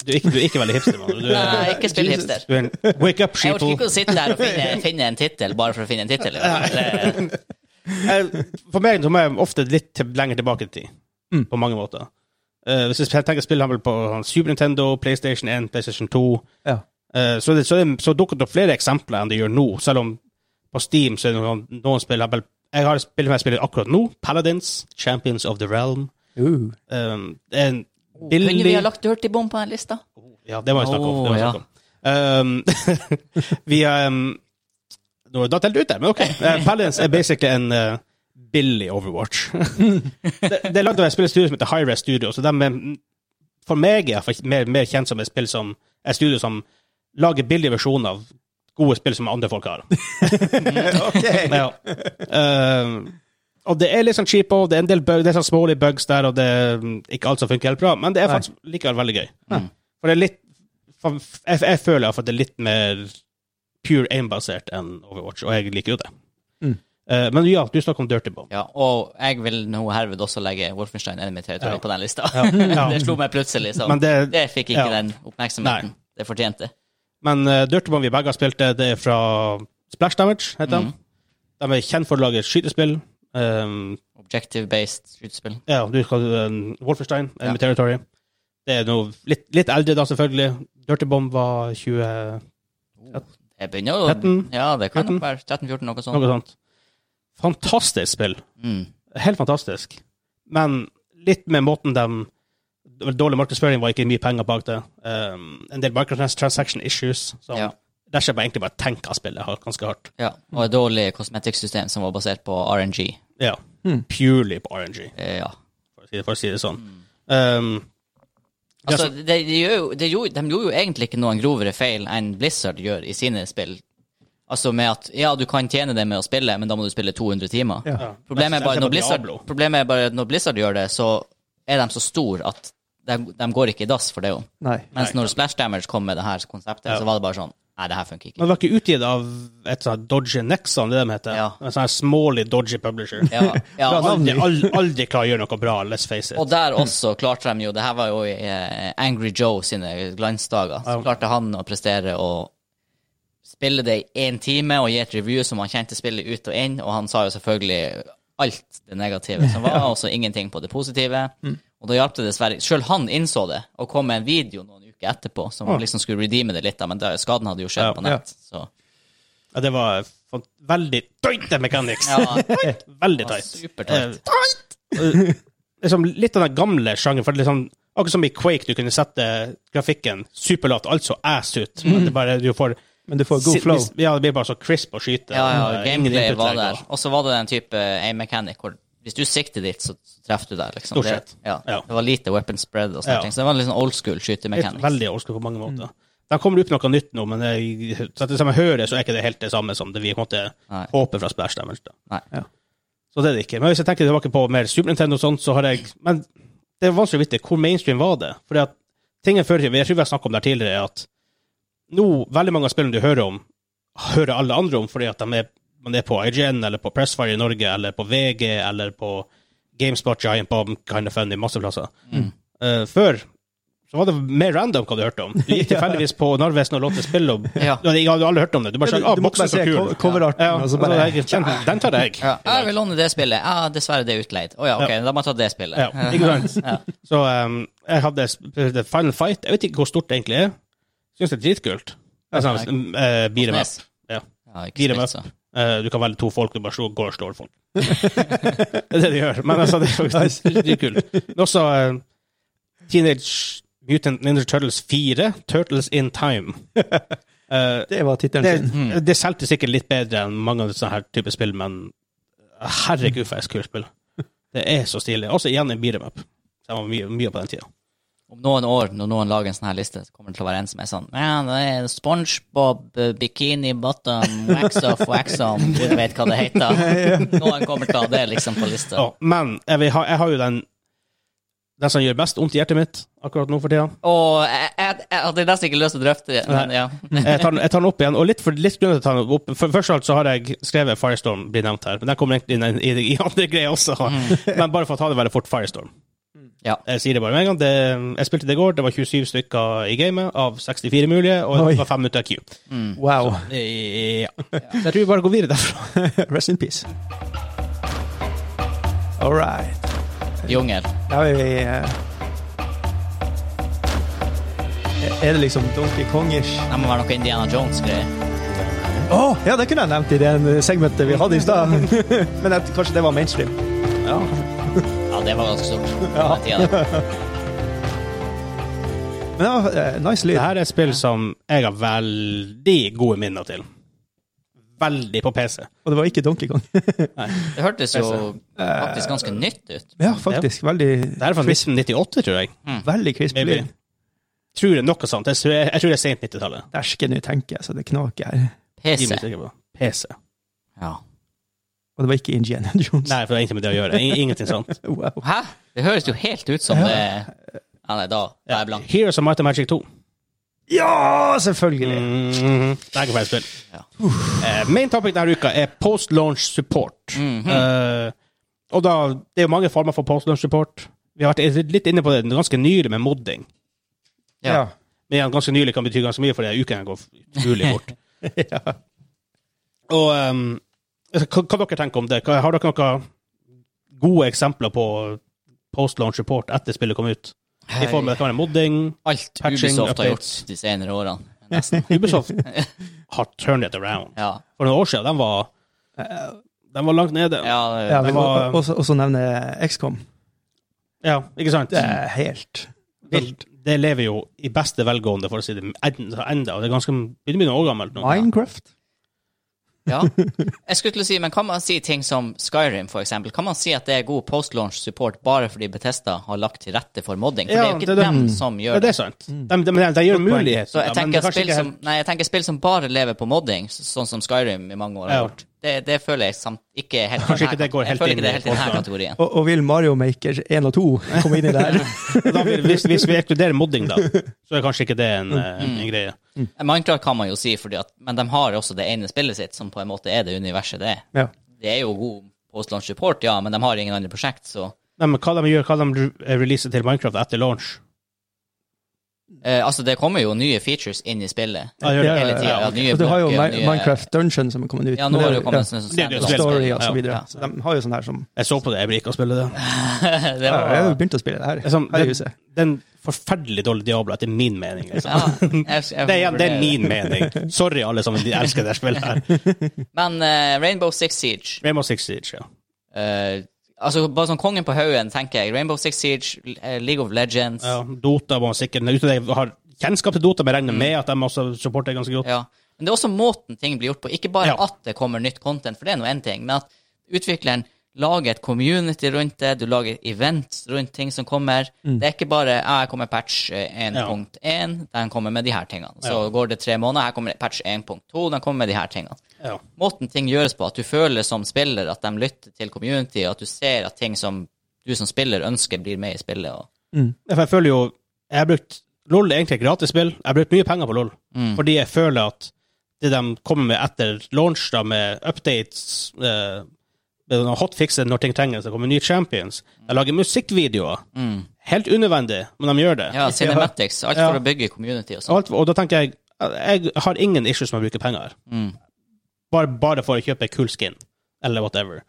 Speaker 2: Du er ikke, du er ikke veldig hipster, mann. Du
Speaker 1: Nei,
Speaker 2: er,
Speaker 1: Eh, ikke spill hipster.
Speaker 2: du er en wake up
Speaker 1: Jeg orker
Speaker 2: sheeple.
Speaker 1: ikke å sitte der og finne, finne en tittel bare for å finne en tittel. Det-
Speaker 2: Eh, For meg så må jeg ofte litt til, lenger tilbake i tid, på mange måter. Eh, hvis jeg tenker spillhandel på sånn Super Nintendo, PlayStation 1, PlayStation 2,
Speaker 3: Ja.
Speaker 2: eh, så, det, så, det, så dukker det opp flere eksempler enn det gjør nå, selv om på Steam så er det noen, noen spill jeg bare- Jeg har spill som jeg spiller akkurat nå, Paladins, Champions of the Realm.
Speaker 3: Uh.
Speaker 2: Um, det er en
Speaker 1: Kunne vi
Speaker 2: billig
Speaker 1: ha lagt Dirty Bomb på den lista?
Speaker 2: Ja, det må vi snakke om. Det må vi
Speaker 1: Åh, ja.
Speaker 2: snakke om. Um, vi um, Nå er det delt ut der, men OK. Uh, Paladins er basically en uh, billig Overwatch. det, det er lagd av et spillestudio som heter High-Res Studio, så de er for meg er for, mer, mer kjent som et spill som et studio som lager billige versjoner av gode spill som andre folk har.
Speaker 3: Ok.
Speaker 2: Ja. Ehm, og det er litt sånn cheapo, det er en del bug, det er sånn smålige bugs der, og det er mm, ikke alt som funker helt bra, men det er
Speaker 3: Nei.
Speaker 2: faktisk likevel veldig gøy. For det er litt for, jeg, jeg føler iallfall at det er litt mer pure aim-basert enn Overwatch, og jeg liker jo det.
Speaker 3: Mm.
Speaker 2: Eh, men ja, du snakker om Dirty Bomb.
Speaker 1: Ja, og jeg vil nå herved også legge Wolfenstein Enemy Territory
Speaker 2: Ja.
Speaker 1: på den lista.
Speaker 2: Ja.
Speaker 1: Det slo meg plutselig, så
Speaker 2: Men, det,
Speaker 1: det fikk ikke
Speaker 2: ja.
Speaker 1: den oppmerksomheten
Speaker 2: Nei.
Speaker 1: det fortjente.
Speaker 2: men eh, Dirty Bomb vi begge har spilt, det, det er fra Splash Damage, heter
Speaker 1: Mhm.
Speaker 2: de. De er kjent for å lage skytespill. Um,
Speaker 1: Objective-based skytespill.
Speaker 2: Ja, du skal um, Wolfenstein, Enemy
Speaker 1: Ja.
Speaker 2: Territory. Det er noe litt, litt eldre da, selvfølgelig. Dirty Bomb var 20
Speaker 1: Jeg begynner å
Speaker 2: 13?
Speaker 1: Ja, det kan nok
Speaker 2: 13?
Speaker 1: være 13-14, noe sånt.
Speaker 2: noe sånt. Fantastisk spill.
Speaker 1: Mm.
Speaker 2: Helt fantastisk. Men litt med måten de det var Dårlig markedsføring var ikke mye penger bak det. Um, en del microtransaction issues. Så
Speaker 1: Ja.
Speaker 2: der ser jeg egentlig bare tenk av spillet har- ganske hardt.
Speaker 1: Ja, og et dårlig kosmetikksystem som var basert på RNG.
Speaker 2: Ja. Purely på RNG,
Speaker 1: Eh, Ja.
Speaker 2: for å si det, for å si det sånn. Um,
Speaker 1: Hmm. Altså, de, de, gjør jo, de, gjorde, de gjorde jo egentlig ikke noen grovere feil enn Blizzard gjør i sine spill. Altså med at ja, du kan tjene det med å spille, men da må du spille 200 timer.
Speaker 3: Ja.
Speaker 1: Problemet,
Speaker 2: Jeg
Speaker 1: er bare
Speaker 2: ser
Speaker 1: når
Speaker 2: på
Speaker 1: Blizzard,
Speaker 2: Diablo.
Speaker 1: problemet er bare at når Blizzard gjør det, så er de så store at de, de går ikke i dass for det jo.
Speaker 3: Nei.
Speaker 1: Mens
Speaker 2: Nei,
Speaker 1: når Splash Damage kom med det her konseptet,
Speaker 2: Ja.
Speaker 1: så var det bare sånn Nei, det her funker ikke.
Speaker 2: Men det var ikke utgitt av et sånt Dodge Nexon, det de heter.
Speaker 1: Ja.
Speaker 2: En sånn her smålig Dodgy publisher.
Speaker 1: Ja, ja,
Speaker 2: Aldri,
Speaker 1: og,
Speaker 2: aldri, aldri klarer å gjøre noe bra, let's face it.
Speaker 1: og der også klarte de jo Det her var jo i eh, Angry Joe sine glansdager. Så
Speaker 2: Ja.
Speaker 1: klarte han å prestere og spille det i én time og gi et review som han kjente spillet ut og inn, og han sa jo selvfølgelig alt det negative som var, også ingenting på det positive.
Speaker 2: Mm.
Speaker 1: Og da hjalp det dessverre Sjøl han innså det, og kom med en video noen uker etterpå som liksom skulle redeeme det litt, da, men da, skaden hadde jo skjedd
Speaker 2: Ja,
Speaker 1: på nett. Så
Speaker 2: Ja, det var fan- veldig tight mechanics.
Speaker 1: ja, det
Speaker 2: Veldig
Speaker 1: var
Speaker 2: tight.
Speaker 1: supertøft.
Speaker 2: Eh, liksom litt av den gamle sjangeren, for liksom, akkurat som i Quake, du kunne sette grafikken superlavt, altså ass ut. Men
Speaker 1: Mm.
Speaker 2: det bare, du får
Speaker 3: Men du får god flow.
Speaker 2: Ja, det blir bare så crisp å skyte.
Speaker 1: Ja, ja,
Speaker 2: og Mm, ingen
Speaker 1: gameplay
Speaker 2: input
Speaker 1: var
Speaker 2: lag
Speaker 1: der.
Speaker 2: og-
Speaker 1: Og så var det den type aim mechanic hvor hvis du sikter dit, så treffer du der, liksom.
Speaker 2: Stort
Speaker 1: Det,
Speaker 2: sett.
Speaker 1: ja.
Speaker 2: Ja.
Speaker 1: det var lite weapon spread og sånne
Speaker 2: Ja.
Speaker 1: ting. Så det var en litt sånn old school
Speaker 2: Helt
Speaker 1: skytemekanikk.
Speaker 2: veldig overskudd på mange måter. De kommer ut med noe nytt nå, men jeg, så etter det som jeg hører, så er ikke det helt det samme som det vi på en måte
Speaker 1: Nei.
Speaker 2: håper fra Splash Damage. Da.
Speaker 1: Nei.
Speaker 3: Ja.
Speaker 2: Så det er det ikke. Men hvis jeg tenker tilbake på mer Super Nintendo og sånt, så har jeg Men det er vanskelig å vite hvor mainstream var det. Fordi at tingen før, jeg tror vi har snakket om det her tidligere, at nå, veldig mange av spillene du hører om, hører alle andre om fordi at de er, man er på IGN, eller på Pressfire i Norge, eller på VG, eller på GameSpot, Giant Bomb, Kind of Funny, masse plasser. Eh, før så var det mer random hva du hørte om. Du gikk tilfeldigvis på Narvesen og lånte spill, og
Speaker 1: Ja.
Speaker 2: du hadde aldri hørt om det. Du bare
Speaker 3: Du,
Speaker 2: sa ah,
Speaker 3: du måtte
Speaker 2: boksen
Speaker 3: bare
Speaker 2: er så
Speaker 3: se
Speaker 2: kul.
Speaker 3: co- coverarten,
Speaker 2: Ja,
Speaker 3: og så bare
Speaker 2: jeg, den, den tar jeg.
Speaker 1: Ja. Jeg vil låne det spillet. Ja, dessverre, det er utleid. Å ja, ok, da må jeg ta det spillet.
Speaker 2: Ja, ikke sant? Så um, jeg hadde sp- The Final Fight. Jeg vet ikke hvor stort det egentlig er. Syns det er dritkult. Det er sånn, uh, beat 'em up.
Speaker 1: Nes.
Speaker 2: Ja.
Speaker 1: Ja, ikke
Speaker 2: Beat 'em
Speaker 1: spilt,
Speaker 2: up.
Speaker 1: så.
Speaker 2: Eh, du kan velge to folk, du bare slår, går og slår folk. det er det de gjør. Men altså, det er faktisk dritkult. Men også eh, Teenage Mutant Ninja Turtles 4, Turtles in Time. Eh,
Speaker 3: Det var tittelen
Speaker 2: det,
Speaker 3: sin.
Speaker 2: det solgte sikkert litt bedre enn mange av sånne her type spill, men eh, herregud, for et kult spill. Det er så stilig. Også igjen en beat 'em up. Det var mye, mye på den tida.
Speaker 1: Om noen år, når noen lager en sånn her liste, så kommer det til å være en som er sånn Man, det er SpongeBob, eh, bikini bottom, wax off, wax on Gud vet hva det heter. Noen kommer til å ha det liksom på lista.
Speaker 2: Ja, men jeg, vil ha, jeg har jo den Den som gjør best vondt i hjertet mitt akkurat nå for tida.
Speaker 1: Og jeg, jeg, jeg hadde nesten ikke lyst til å drøfte det, men ja.
Speaker 2: Jeg tar, den- jeg tar den opp igjen, og litt for litt grunn til å ta den opp. For, først av alt så har jeg skrevet Firestorm blir nevnt her, men den kommer egentlig inn i, i, i andre greier også. Men bare for å ta det veldig fort, Firestorm.
Speaker 1: Ja.
Speaker 2: Jeg sier det bare med en gang. Det, jeg spilte det i går, det var 27 stykker i gamet av 64 mulige, og
Speaker 3: Oi.
Speaker 2: det var 5 minutter Q.
Speaker 3: Wow.
Speaker 2: Ja. Så jeg tror vi bare går videre derfra.
Speaker 3: Rest in peace. All right.
Speaker 1: Jungel.
Speaker 3: Da er vi eh, Er det liksom Donkey Kong-ish?
Speaker 1: Det må være noe Indiana Jones-greier.
Speaker 3: Å, ja, det kunne jeg nevnt i det eh, segmentet vi hadde i stad. Men jeg, kanskje det var mainstream.
Speaker 2: Ja.
Speaker 1: Ja, det var ganske stort. på den tiden.
Speaker 3: Men ja, eh, nice lyd.
Speaker 2: Det her er et spill som jeg har veldig gode minner til. Veldig på PC.
Speaker 3: Og det var ikke Donkey Kong.
Speaker 1: Det hørtes jo faktisk
Speaker 2: Eh,
Speaker 1: ganske nytt ut.
Speaker 3: ja, faktisk. Veldig,
Speaker 2: Det her er fra 1998, tror jeg.
Speaker 3: veldig crisp
Speaker 2: Maybe.
Speaker 3: lyd.
Speaker 2: Tror det er noe sånt. Jeg tror- jeg tror det er sent 90-tallet.
Speaker 3: Dæsken, nå tenker jeg, så det knaker her.
Speaker 2: Gi meg
Speaker 1: PC.
Speaker 2: sikker på. PC.
Speaker 1: Ja.
Speaker 3: Og det var ikke Indiana Jones.
Speaker 2: Nei, for det er ingenting med det å gjøre. Ing- Ingenting sånt.
Speaker 3: Wow.
Speaker 1: Hæ? Det høres jo helt ut som det Ja, nei, da da er jeg blank.
Speaker 2: Heroes of Might and Magic 2.
Speaker 3: Ja, selvfølgelig!
Speaker 2: Mhm. Det er ikke feil spill. Eh, main topic denne uka er post-launch support.
Speaker 1: Mhm.
Speaker 2: Eh, og da, det er jo mange former for post-launch support. Vi har vært litt inne på det ganske nylig med modding.
Speaker 1: Ja.
Speaker 3: Ja.
Speaker 2: Men igjen, ganske nylig kan bety ganske mye, for denne uken går utrolig fort.
Speaker 3: ja.
Speaker 2: Og ehm, altså, hva, hva dere tenker om det? Hva, har dere noen gode eksempler på post-launch report etter spillet kom ut? I form av det kan være modding.
Speaker 1: Alt
Speaker 2: Patching,
Speaker 1: Ubisoft har gjort
Speaker 2: updates.
Speaker 1: de senere årene. Nesten.
Speaker 2: Ubisoft har turned it around.
Speaker 1: Ja.
Speaker 2: For noen år siden, den var, eh, den var langt nede. Ja.
Speaker 1: ja
Speaker 3: ja vi
Speaker 2: Det
Speaker 3: må
Speaker 2: var-
Speaker 3: også, også nevne XCOM.
Speaker 2: ikke sant?
Speaker 3: Det er helt vilt.
Speaker 2: Det lever jo i beste velgående, for å si det enda, enda og det er ganske, begynner å bli noen år gammelt nå.
Speaker 3: Minecraft?
Speaker 1: ja. Jeg skulle til å si, men kan man si ting som Skyrim, for eksempel? Kan man si at det er god post-launch support bare fordi Bethesda har lagt til rette for modding? For
Speaker 2: Ja,
Speaker 1: det er jo ikke
Speaker 2: det er det.
Speaker 1: dem som
Speaker 2: Ja,
Speaker 1: gjør
Speaker 2: det
Speaker 1: det. Mm.
Speaker 2: er sant. De, de, de, de gjør muligheter.
Speaker 1: Så jeg
Speaker 2: da, men
Speaker 1: tenker, at
Speaker 2: det er kanskje
Speaker 1: spill
Speaker 2: ikke
Speaker 1: som,
Speaker 2: helt-
Speaker 1: nei, jeg tenker spill som bare lever på modding, s- sånn som Skyrim i mange år har
Speaker 2: Ja.
Speaker 1: gjort, det, det føler jeg samt, ikke helt
Speaker 2: Kanskje ikke det går
Speaker 1: Jeg
Speaker 2: helt
Speaker 1: føler
Speaker 2: inn
Speaker 1: ikke det er helt
Speaker 2: i
Speaker 1: i denne
Speaker 2: forslaget.
Speaker 1: kategorien.
Speaker 3: Og, og vil Mario Maker 1 og 2 komme inn i det her?
Speaker 2: da, vil- hvis, hvis vi ekskluderer modding, da, så er kanskje ikke det en,
Speaker 1: Mm.
Speaker 2: eh, en greie.
Speaker 1: Minecraft kan man jo si, fordi at, men de har også det ene spillet sitt, som på en måte er det universet det er.
Speaker 3: Ja.
Speaker 1: Det er jo god post-launch support, ja, men de har ingen andre prosjekt, så
Speaker 2: Nei, men hva de gjør, hva de re- eh, releaser til Minecraft etter launch?
Speaker 1: Eh, altså, det kommer jo nye features inn i spillet.
Speaker 2: Ja, gjør det.
Speaker 1: Hele tiden.
Speaker 2: Ja,
Speaker 1: Ja,
Speaker 2: ok.
Speaker 1: nye
Speaker 3: Og du har jo
Speaker 1: blokker,
Speaker 3: Mi-
Speaker 1: nye-
Speaker 3: Minecraft Dungeon som er kommet ut.
Speaker 1: Ja, nå
Speaker 3: Men
Speaker 1: har det
Speaker 3: er-
Speaker 1: jo kommet
Speaker 3: ja,
Speaker 1: en sånn
Speaker 2: Det er jo
Speaker 1: standalone
Speaker 3: Story
Speaker 1: spill.
Speaker 3: og så videre.
Speaker 1: Ja.
Speaker 3: Så de har jo sånn her som
Speaker 2: Jeg så på det, jeg blir ikke å spille det.
Speaker 1: det
Speaker 3: Ja, Jeg har jo
Speaker 1: var,
Speaker 3: begynt å spille det her.
Speaker 2: Det er, sånn,
Speaker 3: her i
Speaker 2: det,
Speaker 3: huset.
Speaker 2: det er en forferdelig dårlig Diablo, etter min mening. Liksom.
Speaker 1: ja, jeg, jeg,
Speaker 2: Det, er, det er min mening. Sorry, alle sammen, de elsker det spillet her.
Speaker 1: Men eh, Rainbow Six Siege
Speaker 2: Rainbow Six Siege, ja.
Speaker 1: eh, Altså, bare sånn kongen på haugen, tenker jeg. Rainbow Six Siege, eh, League of Legends
Speaker 2: ja.
Speaker 1: ja.
Speaker 2: Dota var sikkert Uten at jeg har kjennskap til Dota, men jeg regner med at de også supporter ganske godt.
Speaker 1: Men det er også måten ting blir gjort på. Ikke bare
Speaker 2: Ja.
Speaker 1: at det kommer nytt content, for det er nå én ting, men at utvikleren lager et community rundt det, du lager events rundt ting som kommer.
Speaker 2: Mm.
Speaker 1: Det er ikke bare ah, 'jeg kommer patch eh, 1.1', den kommer med de her tingene. Så går det tre måneder, her kommer patch 1.2, den kommer med de her tingene.
Speaker 2: Ja.
Speaker 1: måten ting gjøres på, at du føler som spiller at de lytter til community, og at du ser at ting som du som spiller ønsker, blir med i spillet. Og...
Speaker 2: Ja, for Jeg føler jo Jeg har brukt LOL er egentlig et gratisspill. Jeg har brukt mye penger på LOL
Speaker 1: Mm.
Speaker 2: fordi jeg føler at det de kommer med etter launch, da med updates eh, med noen hotfixer når ting trengs, det kommer nye champions, de lager musikkvideoer.
Speaker 1: Mm.
Speaker 2: Helt unødvendig, men de gjør det.
Speaker 1: Ja, cinematics. Alt for
Speaker 2: Ja.
Speaker 1: å bygge community og sånn.
Speaker 2: Alt, og da tenker jeg jeg har ingen issues med å bruke penger.
Speaker 1: Mm.
Speaker 2: Bare, bare for å kjøpe en kul skin, eller whatever.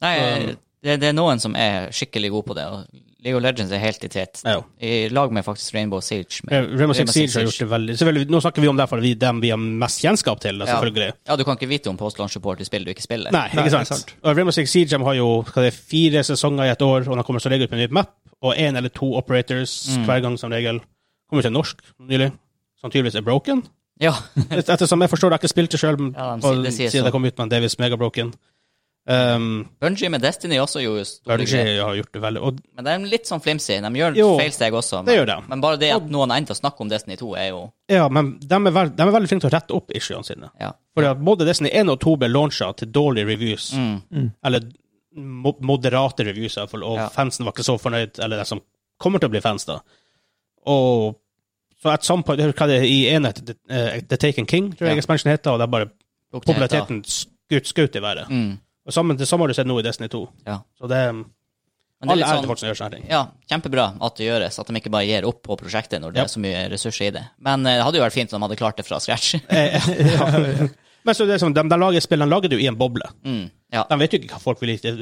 Speaker 1: Nei, det, det er noen som er skikkelig gode på det, og League of Legends er helt i tet.
Speaker 2: Ja.
Speaker 1: I lag med faktisk Rainbow Siege.
Speaker 2: Eh,
Speaker 1: Men,
Speaker 2: Rainbow Six Siege har gjort det veldig selvfølgelig, Nå snakker vi om det for vi, dem vi har mest kjennskap til, da,
Speaker 1: Ja.
Speaker 2: selvfølgelig.
Speaker 1: ja, du kan ikke vite om post-launch support i spill du ikke spiller.
Speaker 2: Nei,
Speaker 3: Nei,
Speaker 2: ikke sant?
Speaker 3: det er sant.
Speaker 2: Og Rainbow Six Siege de har jo hva det er, fire sesonger i et år, og de kommer som regel ut med en ny map, og én eller to operators hver gang som regel. Kommer til norsk nylig. Sannsynligvis er broken.
Speaker 1: Ja.
Speaker 2: Et- Ettersom jeg forstår det, jeg har ikke spilt det sjøl,
Speaker 1: Ja, de sier-
Speaker 2: og
Speaker 1: det sier
Speaker 2: siden
Speaker 1: så.
Speaker 2: det kom ut med en Davis Megabroken. Um,
Speaker 1: Bungie med Destiny også gjorde jo store
Speaker 2: Bungie
Speaker 1: greier.
Speaker 2: har gjort det veldig Og
Speaker 1: Men de er litt sånn flimsy. De gjør
Speaker 2: Jo,
Speaker 1: feil steg også. Men,
Speaker 2: det gjør de.
Speaker 1: men bare det at noen er inne til å snakke om Destiny 2, er jo
Speaker 2: Ja, men de er, veld, de er veldig flinke til å rette opp issuene sine.
Speaker 1: Ja.
Speaker 2: For at både Destiny 1 og 2 ble launcha til dårlige reviews,
Speaker 1: Mm.
Speaker 2: eller mo moderate reviews, i hvert fall, og
Speaker 1: Ja.
Speaker 2: fansen var ikke så fornøyd, eller de som kommer til å bli fans, da. Og så at some point, hva det er i enhet, The, eh, The Taken King, tror
Speaker 1: Ja.
Speaker 2: jeg expansion heter, og det er bare
Speaker 1: Lukter helt av.
Speaker 2: populariteten skutt, skutt i været.
Speaker 1: Mm,
Speaker 2: Og sammen, det samme har du sett nå i Destiny 2.
Speaker 1: ja.
Speaker 2: Så det,
Speaker 1: Men det er
Speaker 2: alle er
Speaker 1: litt
Speaker 2: til
Speaker 1: sånn
Speaker 2: folk som gjør sånne ting.
Speaker 1: ja, kjempebra at det gjøres, at de ikke bare gir opp på prosjektet når det
Speaker 2: Ja.
Speaker 1: er så mye ressurser i det. Men eh, det hadde jo vært fint om de hadde klart det fra scratch.
Speaker 2: Eh, Men så det er sånn, de, de lager spill, de lager det jo i en boble.
Speaker 1: Mm, ja.
Speaker 2: De vet jo ikke hva folk vil like.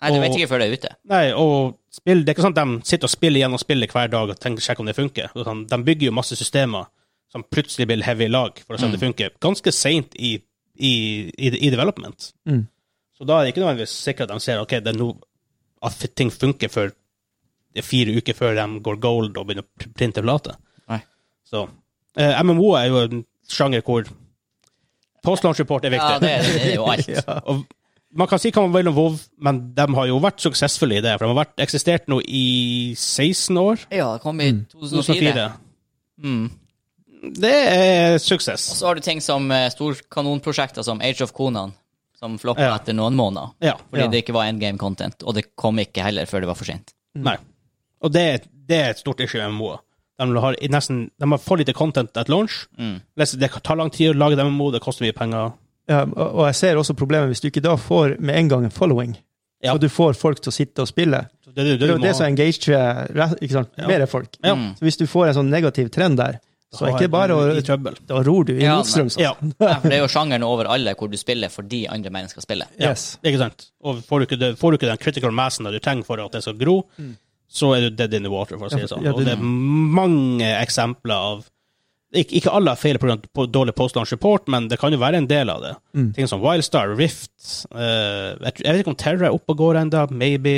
Speaker 1: Nei, du
Speaker 2: Og-
Speaker 1: vet ikke før det er ute.
Speaker 2: Nei, og spill, det er ikke sånn at de sitter og spiller gjennom spillet hver dag og tenker sjekker om det funker. Og Sånn, de bygger jo masse systemer som plutselig blir heavy i lag for å se om det funker, ganske seint i, i, i, i development.
Speaker 3: Mm.
Speaker 2: Så da er det ikke nødvendigvis sikkert at de ser ok, det er no, at ting funker før det er fire uker før de går gold og begynner å pr- printe plate.
Speaker 1: Nei.
Speaker 2: Så eh, MMO er jo en sjanger hvor post-launch report er viktig.
Speaker 1: Ja, det, det er jo alt.
Speaker 2: Og man kan si hva man vil om WoW, men de har jo vært suksessfulle i det. For de har vært, eksistert nå i 16 år.
Speaker 1: Ja, det kom i 2004.
Speaker 2: 2004.
Speaker 1: Mm.
Speaker 2: Det er suksess.
Speaker 1: Og så har du ting som eh, storkanonprosjekter som Age of Konan, som floppa
Speaker 2: Ja.
Speaker 1: etter noen måneder.
Speaker 2: Ja.
Speaker 1: Fordi
Speaker 3: Ja.
Speaker 1: det ikke var endgame content, og det kom ikke heller før det var for sent.
Speaker 2: Mm. Nei. Og det, er- det er et stort issue med MMO. De har, i nesten, de har for lite content at launch.
Speaker 1: Mm.
Speaker 2: Det tar lang tid å lage dem MMO, det koster mye penger.
Speaker 3: Ja, Ehm, og- og jeg ser også problemet hvis du ikke da får med en gang en following.
Speaker 2: Ja.
Speaker 3: Og du får folk til å sitte og spille.
Speaker 2: Så Det, det,
Speaker 3: Det er
Speaker 2: det,
Speaker 3: jo det som engager eh, re- ikke sant?
Speaker 2: Ja.
Speaker 3: mer folk.
Speaker 2: Ja.
Speaker 1: Mm.
Speaker 3: Så hvis du får en sånn negativ trend der, så er ikke det bare
Speaker 2: I
Speaker 3: å
Speaker 2: trøbbel.
Speaker 3: Da ror du i
Speaker 1: Ja,
Speaker 3: motstrøms.
Speaker 2: Ja.
Speaker 1: Ja, for det er jo sjangeren over alle hvor du spiller fordi andre mennesker spiller.
Speaker 2: Ja,
Speaker 3: Yes.
Speaker 2: ikke sant? Og får du ikke, det, får du ikke den critical massen du trenger for at det skal gro, så er du dead in the water, for å si det
Speaker 3: Mm. Ja,
Speaker 2: sånn.
Speaker 3: ja,
Speaker 2: og
Speaker 3: det-
Speaker 2: det er mange eksempler av ikke, ikke alle har feil på grunn av på dårlig postlaunch support, men det kan jo være en del av det.
Speaker 3: Mm.
Speaker 2: Ting som Wildstar, Rift eh, jeg, tror- jeg vet ikke om Terra er oppe og går ennå, maybe.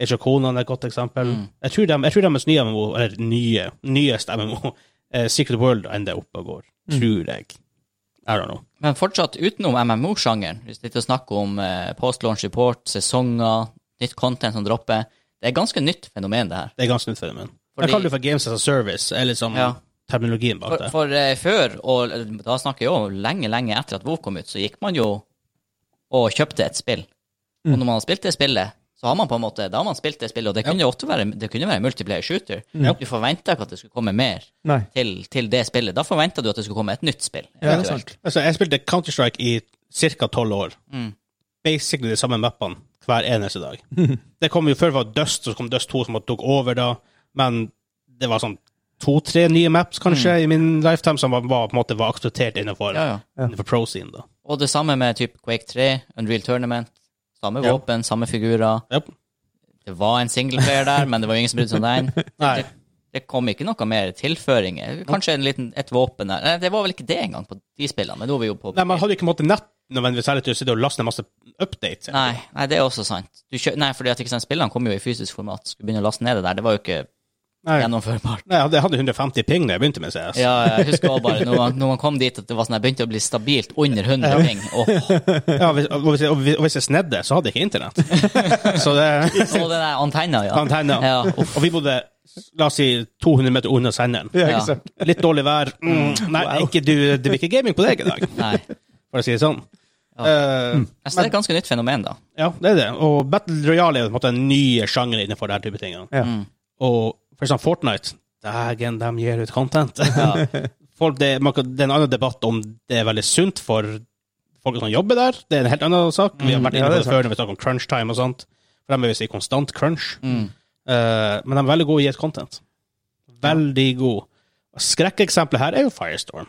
Speaker 2: Ejokonan er et godt eksempel. Jeg tror de- jeg tror deres nye MMO, eller nye, nyeste MMO, eh, Secret World, ennå er oppe og går.
Speaker 3: Mm.
Speaker 2: Tror jeg. I don't know.
Speaker 1: Men fortsatt utenom MMO-sjangeren, hvis det er snakk om eh, post-launch report, sesonger, nytt content som dropper Det er ganske nytt fenomen, det her.
Speaker 2: Det er ganske nytt fenomen.
Speaker 1: Fordi-
Speaker 2: Jeg kaller det for games as a service, er liksom
Speaker 1: Ja.
Speaker 2: terminologien bak
Speaker 1: For,
Speaker 2: det.
Speaker 1: for eh, før, og eh, da snakker jeg jo lenge, lenge etter at WoW kom ut, så gikk man jo og kjøpte et spill. Og
Speaker 3: Mm.
Speaker 1: når man har spilt det spillet, så har man på en måte, da har man spilt det spillet, og det kunne jo ofte være, det kunne være multiplayer shooter. Du forventa ikke at det skulle komme mer
Speaker 3: Nei.
Speaker 1: til, til det spillet. Da forventa du at det skulle komme et nytt spill.
Speaker 3: Ja, det er
Speaker 1: eventuelt.
Speaker 3: sant.
Speaker 2: Altså, jeg spilte Counter-Strike i ca. tolv år.
Speaker 1: Mm.
Speaker 2: Basically de samme mappene hver eneste dag. Det kom jo Før var det Dust, så kom Dust 2 som tok over da, men det var sånn to-tre nye maps kanskje i min lifetime som var, var, på en måte var akseptert innenfor,
Speaker 1: Mm. Ja, ja.
Speaker 2: innenfor pro-scene. da.
Speaker 1: Og det samme med typ Quake 3, Unreal Tournament. Samme
Speaker 2: Ja.
Speaker 1: våpen, samme figurer.
Speaker 2: Japp.
Speaker 1: Det var en singleplayer der, men det var jo ingen som brydde seg om den.
Speaker 2: Nei.
Speaker 1: Det kom ikke noe mer tilføringer. Kanskje en liten, et våpen der. Nei, det var vel ikke det engang på de spillene. men Nå er vi jo på
Speaker 2: Nei, man hadde ikke måttet nett nødvendigvis heller til å sitte og laste ned masse updates.
Speaker 1: Nei, nei, det er også sant. Du kjø... Nei, fordi at ikke sant, spillene kom jo i fysisk format. Skulle begynne å laste ned det der. Det var jo ikke
Speaker 2: Nei.
Speaker 1: gjennomførbart.
Speaker 2: Nei, jeg hadde 150 ping da jeg begynte med CS.
Speaker 1: Ja, jeg husker også bare når man, når man kom dit at det var sånn her, begynte å bli stabilt under 100 ting. Åh,
Speaker 2: Ja, hvis, og, hvis jeg, og hvis jeg snedde, så hadde jeg ikke internett. Så det
Speaker 1: og den der antenna, ja.
Speaker 2: Antenna.
Speaker 1: Ja, uff.
Speaker 2: Og vi bodde la oss si 200 meter unna senderen.
Speaker 3: Ja,
Speaker 1: Ja.
Speaker 3: ikke sant?
Speaker 2: Litt dårlig vær. Mm, nei, ikke, du, det blir ikke gaming på deg i dag,
Speaker 1: Nei.
Speaker 2: for å si det sånn.
Speaker 1: Ja.
Speaker 2: Eh,
Speaker 1: Altså, det er et ganske nytt fenomen, da.
Speaker 2: ja, det er det. Og
Speaker 3: Mm.
Speaker 2: Battle Royale er jo på en måte den nye sjangeren innenfor denne type ting.
Speaker 3: Ja.
Speaker 2: Og for eksempel Fortnite, Dægen, de gir ut content.
Speaker 1: Ja.
Speaker 2: Folk, det, man kan, det er en annen debatt om det er veldig sunt for folk som jobber der. Det er en helt annen sak. Vi har vært
Speaker 3: Mm. ja,
Speaker 2: inne på
Speaker 3: det er
Speaker 2: det før når vi snakker om crunch time og sånt. For de er visst i konstant crunch.
Speaker 1: Mm.
Speaker 2: Eh, men de er veldig gode i å gi et content. Veldig gode. Skrekkeksempelet her er jo Firestorm.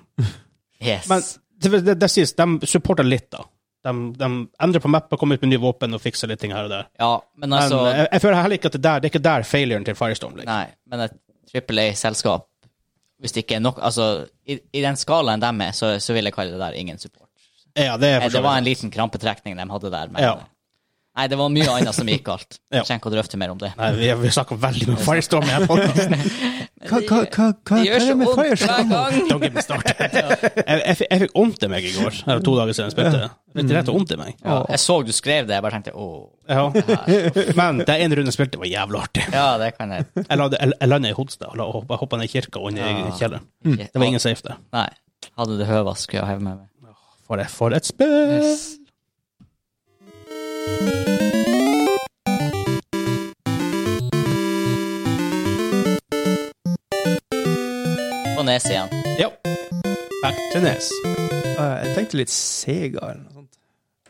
Speaker 1: Yes.
Speaker 2: Men det, det, det sies, de supporter litt, da. De, de endrer på mappa, kommer ut med nye våpen og fikser litt ting her og der.
Speaker 1: ja, men
Speaker 2: Men eh,
Speaker 1: altså
Speaker 2: jeg, jeg føler heller ikke at det, der, det er ikke der failuren til Firestorm ligger.
Speaker 1: Nei, men et trippel A-selskap Hvis det ikke er nok Altså, i, i den skalaen de er, så, så vil jeg kalle det der ingen support.
Speaker 2: Ja, det, er
Speaker 1: Eh,
Speaker 2: for så
Speaker 1: Det var
Speaker 2: vidt.
Speaker 1: en liten krampetrekning de hadde der. Men, eh,
Speaker 2: Ja.
Speaker 1: Nei, det var mye annet som gikk galt.
Speaker 2: Ja.
Speaker 1: Jeg Trenger ikke å drøfte mer om det.
Speaker 2: Nei, vi, vi snakker veldig mye om Firestorm i denne podcasten.
Speaker 3: Hva, hva, hva, hva,
Speaker 1: Det
Speaker 3: hva
Speaker 1: gjør
Speaker 3: er
Speaker 1: så
Speaker 3: det med
Speaker 1: vondt hver
Speaker 3: Firestorm?
Speaker 1: gang!
Speaker 2: Don't get me started. Jeg, jeg, fikk- jeg fikk vondt i meg i går, eller to dager siden jeg spilte. Jeg fikk rett og vondt i meg.
Speaker 1: Ja, jeg så du skrev det, jeg bare tenkte åh.
Speaker 2: Ja. Men det ene runden jeg spilte, var jævlig artig.
Speaker 1: Ja, det kan jeg
Speaker 2: Jeg, la- jeg, jeg landa i Hodstad og la- og hoppa ned i kirka og inn
Speaker 1: Ah.
Speaker 2: i kjelleren.
Speaker 1: ikke.
Speaker 2: Det var ingen safe der.
Speaker 1: Nei. Hadde det høva, skulle jeg heve med meg.
Speaker 2: For, et- for et spill!
Speaker 1: På neset igjen.
Speaker 2: Ja. Back to Nes.
Speaker 3: Eh, Jeg tenkte litt Sega eller noe sånt.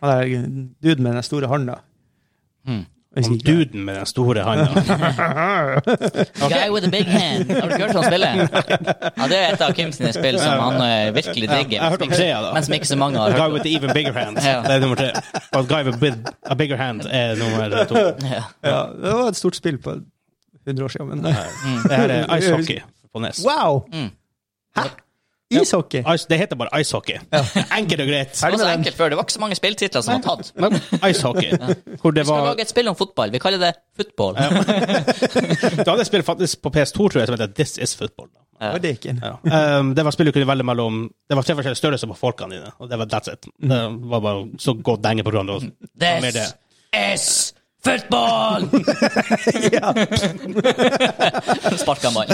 Speaker 3: Han der duden med den store handa.
Speaker 1: Hmm.
Speaker 2: Han
Speaker 3: Jeg husker ikke.
Speaker 2: duden med den store handa.
Speaker 1: Guy with a big hand. Har du ikke hørt han spille? Ja, det er et av Kim sine spill som han eh, virkelig digger.
Speaker 2: Jeg har hørt om trea, da.
Speaker 1: men som ikke så mange har
Speaker 2: Guy
Speaker 1: hørt om.
Speaker 2: with the even bigger hand.
Speaker 1: Ja.
Speaker 2: Det er nummer tre. Og Guy with big- a bigger hand er nummer to.
Speaker 1: Ja.
Speaker 3: Ja, det var et stort spill på 100 år siden. Men...
Speaker 2: Det her er ice hockey på Nes.
Speaker 3: Wow!
Speaker 1: Mm.
Speaker 3: Hæ? Ishockey?
Speaker 2: Ice, det heter bare ice hockey. Enkelt og greit.
Speaker 1: Det var så
Speaker 3: Ferdig med den.
Speaker 1: enkelt før. Det var ikke så mange spilltitler som var tatt.
Speaker 2: Men Ice hockey. Hvor det
Speaker 1: Vi skal
Speaker 2: var
Speaker 1: lage et spill om fotball. Vi kaller det football.
Speaker 2: Da hadde jeg spilt faktisk på PS2, tror jeg, som heter This Is Football.
Speaker 3: Var det ikke en?
Speaker 2: Ja. Um, det var spill du kunne velge mellom Det var tre forskjellige størrelser på folkene dine, og det var that's it. Det var bare så godt denge på hverandre. og- og mer
Speaker 1: This
Speaker 2: det.
Speaker 1: is football! Sparka en ball.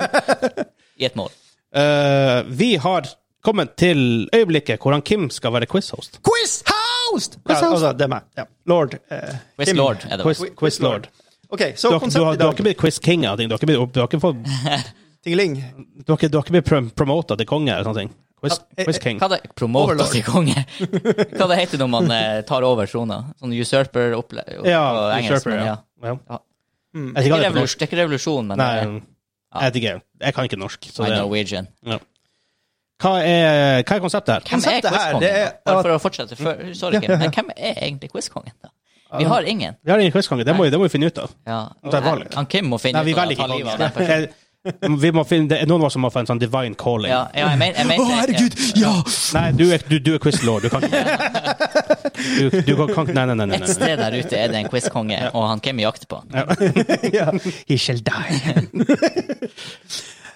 Speaker 1: I et mål.
Speaker 2: Uh, vi har kommet til øyeblikket hvor han Kim skal være quiz-host.
Speaker 3: Quiz host! Ja, altså, det er meg. Ja. Lord. eh,
Speaker 1: Quiz
Speaker 3: Kim.
Speaker 1: Lord er det.
Speaker 2: Quiz,
Speaker 1: vel.
Speaker 2: quiz lord.
Speaker 3: OK,
Speaker 2: Du
Speaker 3: så
Speaker 2: har, du, har,
Speaker 3: konseptet i
Speaker 2: du har
Speaker 3: dag.
Speaker 2: ikke blitt quiz-king av ting. Du har ikke blitt, du har ikke fått-
Speaker 3: Tingeling.
Speaker 2: du har ikke, du har ikke blitt prom- promota til konge eller sånne ting. Quiz,
Speaker 1: eh,
Speaker 2: quiz king.
Speaker 1: Hva det Promoter
Speaker 3: Overlord.
Speaker 1: til konge? Hva det heter når man eh, tar over trona? Sånn usurper opple opp, på
Speaker 2: Ja,
Speaker 1: engelsk,
Speaker 2: usurper,
Speaker 1: men
Speaker 2: ja. ja.
Speaker 1: Ja.
Speaker 2: Jeg
Speaker 3: Mm.
Speaker 2: vet ikke
Speaker 1: Ikke
Speaker 2: hva det er på
Speaker 1: revolusjon,
Speaker 2: norsk.
Speaker 1: det er ikke revolusjon, men
Speaker 2: Nei,
Speaker 1: eh,
Speaker 2: jeg vet ikke. Jeg kan ikke norsk. Så
Speaker 1: I
Speaker 2: det,
Speaker 1: Norwegian.
Speaker 2: ja. hva, er, hva er konseptet her?
Speaker 1: Hvem er
Speaker 3: Konseptet her,
Speaker 1: quizkongen?
Speaker 3: det er
Speaker 1: da? Bare for å fortsette før,
Speaker 2: Mm.
Speaker 1: sorry, Kim, men hvem er egentlig quizkongen? da? Vi har ingen.
Speaker 2: Vi har ingen quizkonge, det må, det må vi finne ut av.
Speaker 1: Ja.
Speaker 2: Det er valg.
Speaker 1: Han Kim må finne
Speaker 2: Nei, vi
Speaker 1: ut av
Speaker 2: velger
Speaker 1: det, ta livet
Speaker 2: ikke
Speaker 1: av den
Speaker 2: konge. Jeg- Vi må finne, det er noen av oss som må få en sånn divine calling.
Speaker 1: Ja, ja, jeg men- jeg
Speaker 3: Å,
Speaker 1: mente
Speaker 3: herregud! Ja!
Speaker 2: Nei, du er, du, du er quizlord, du kan ikke du, du kan kan- Nei, nei, nei. nei,
Speaker 1: Et
Speaker 2: nei.
Speaker 1: sted der ute er det en quizkonge, og han Kim jakter på. han.
Speaker 3: ja. He shall die.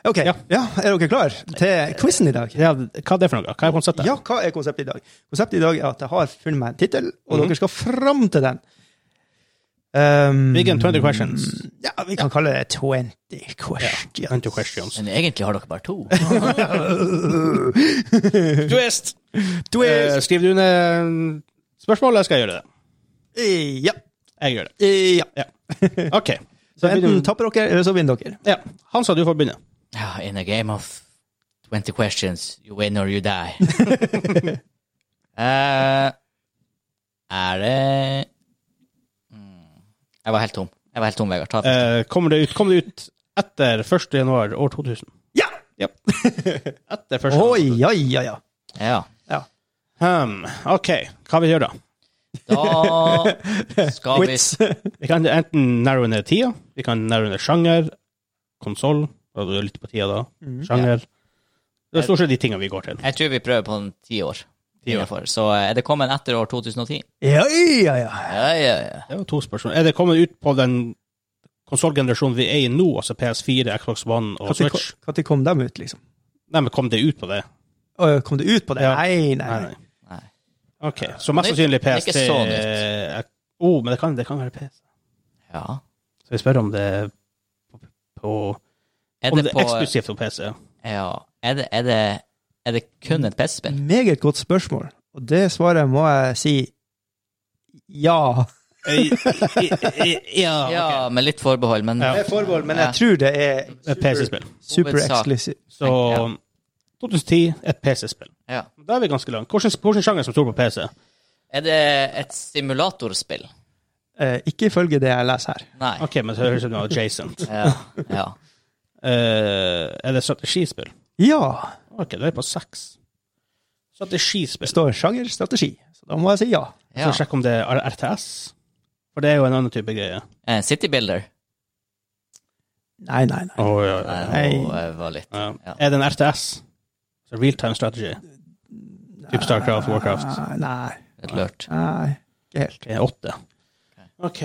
Speaker 3: OK. Ja. er dere klare til quizen i dag?
Speaker 2: Ja, hva er det for noe? Hva er konseptet?
Speaker 3: Ja, hva er konseptet i dag? Konseptet i dag er at jeg har funnet meg en tittel, og dere skal fram til den. Um,
Speaker 2: Big and 20 questions.
Speaker 3: Ja, vi kan kalle det 20 questions.
Speaker 2: Twenty questions.
Speaker 1: Men egentlig har dere bare to.
Speaker 2: Eh, Twist!
Speaker 3: Twist.
Speaker 2: Eh, skriver du ned spørsmål, eller skal jeg gjøre det?
Speaker 3: Eh, Ja.
Speaker 2: Jeg gjør det.
Speaker 3: Eh, ja.
Speaker 2: OK.
Speaker 3: Så enten tapper dere, eller så vinner dere.
Speaker 2: ja. Hansa, du får begynne.
Speaker 1: Ja, In a game of 20 questions, you win or you die. Eh, er det Mm. Jeg var helt tom. Jeg var helt tom, Vegard. Ta det.
Speaker 2: Eh, kommer, det ut, kommer det ut etter 1. januar år 2000?
Speaker 3: Ja!
Speaker 2: Etter 1.
Speaker 3: Oi, ja, ja, ja.
Speaker 1: Ja.
Speaker 2: Hmm, OK, hva vi gjør da?
Speaker 1: Da skal vi
Speaker 3: Quiz.
Speaker 2: Vi kan enten narrowe ned tida, vi kan narrowe ned sjanger, konsoll Du er litt på tida da. Sjanger. Det er stort sett de tingene vi går til.
Speaker 1: Jeg tror vi prøver på en ti år.
Speaker 2: Ti år.
Speaker 1: Innenfor. Så eh, er det kommet etter år 2010?
Speaker 3: Ja, ja, ja.
Speaker 1: Ja, ja, ja.
Speaker 2: Det var to spørsmål. Er det kommet ut på den konsollgenerasjonen vi er i nå, altså PS4, Xbox One og
Speaker 3: Når
Speaker 2: Switch?
Speaker 3: kom, kom de ut, liksom?
Speaker 2: Nei, men kom det ut på det?
Speaker 3: Å, Kom det ut på det?
Speaker 2: Ja.
Speaker 3: Nei, nei,
Speaker 2: Nei,
Speaker 3: nei.
Speaker 2: nei.
Speaker 1: Nei.
Speaker 2: OK, så mest
Speaker 1: Nytt.
Speaker 2: sannsynlig
Speaker 1: Ikke
Speaker 2: PS3
Speaker 1: så
Speaker 2: eh, Å, men det kan, det kan være PS.
Speaker 1: ja.
Speaker 2: Så vi spør om det er på
Speaker 1: Er
Speaker 2: Om det
Speaker 1: det
Speaker 2: er
Speaker 1: på eh,
Speaker 2: eksklusivt på PC.
Speaker 1: Ja. Er det, er det, er det kun et PC-spill?
Speaker 3: Meget godt spørsmål. Og det svaret må jeg si ja.
Speaker 2: ja, ok.
Speaker 1: Ja, med litt forbehold, men
Speaker 2: Ja.
Speaker 3: Det er forbehold, men
Speaker 1: Ja.
Speaker 3: jeg tror det er
Speaker 2: Et PC-spill.
Speaker 3: super
Speaker 1: Hovedsak.
Speaker 3: eksklusivt.
Speaker 2: Så 2010, et PC-spill.
Speaker 1: ja.
Speaker 2: Da er vi ganske langt. Hvilken hvilken sjanger som står på PC?
Speaker 1: Er det et simulatorspill?
Speaker 3: Eh, ikke ifølge det jeg leser her.
Speaker 1: Nei.
Speaker 2: OK, men så høres det ut som noe adjacent.
Speaker 1: Ja, ja.
Speaker 2: Eh, er det strategispill?
Speaker 3: Ja,
Speaker 2: OK, da er jeg på seks.
Speaker 3: det
Speaker 2: Strategispill.
Speaker 3: står sjanger strategi, så da må jeg si ja.
Speaker 2: Så
Speaker 1: ja.
Speaker 2: sjekk om det er RTS. For det er jo en annen type greie.
Speaker 1: Eh, City Builder.
Speaker 3: Nei, nei, nei.
Speaker 2: Oh, ja,
Speaker 1: Nei,
Speaker 2: ja.
Speaker 3: Nei.
Speaker 1: nå, eh, var litt.
Speaker 2: Ja.
Speaker 1: Ja.
Speaker 2: Er det en RTS? Så real time strategy? Typ Starcraft, Warcraft?
Speaker 3: Nei, Nei,
Speaker 1: litt lurt.
Speaker 3: nei, ikke helt.
Speaker 2: Det er åtte. OK.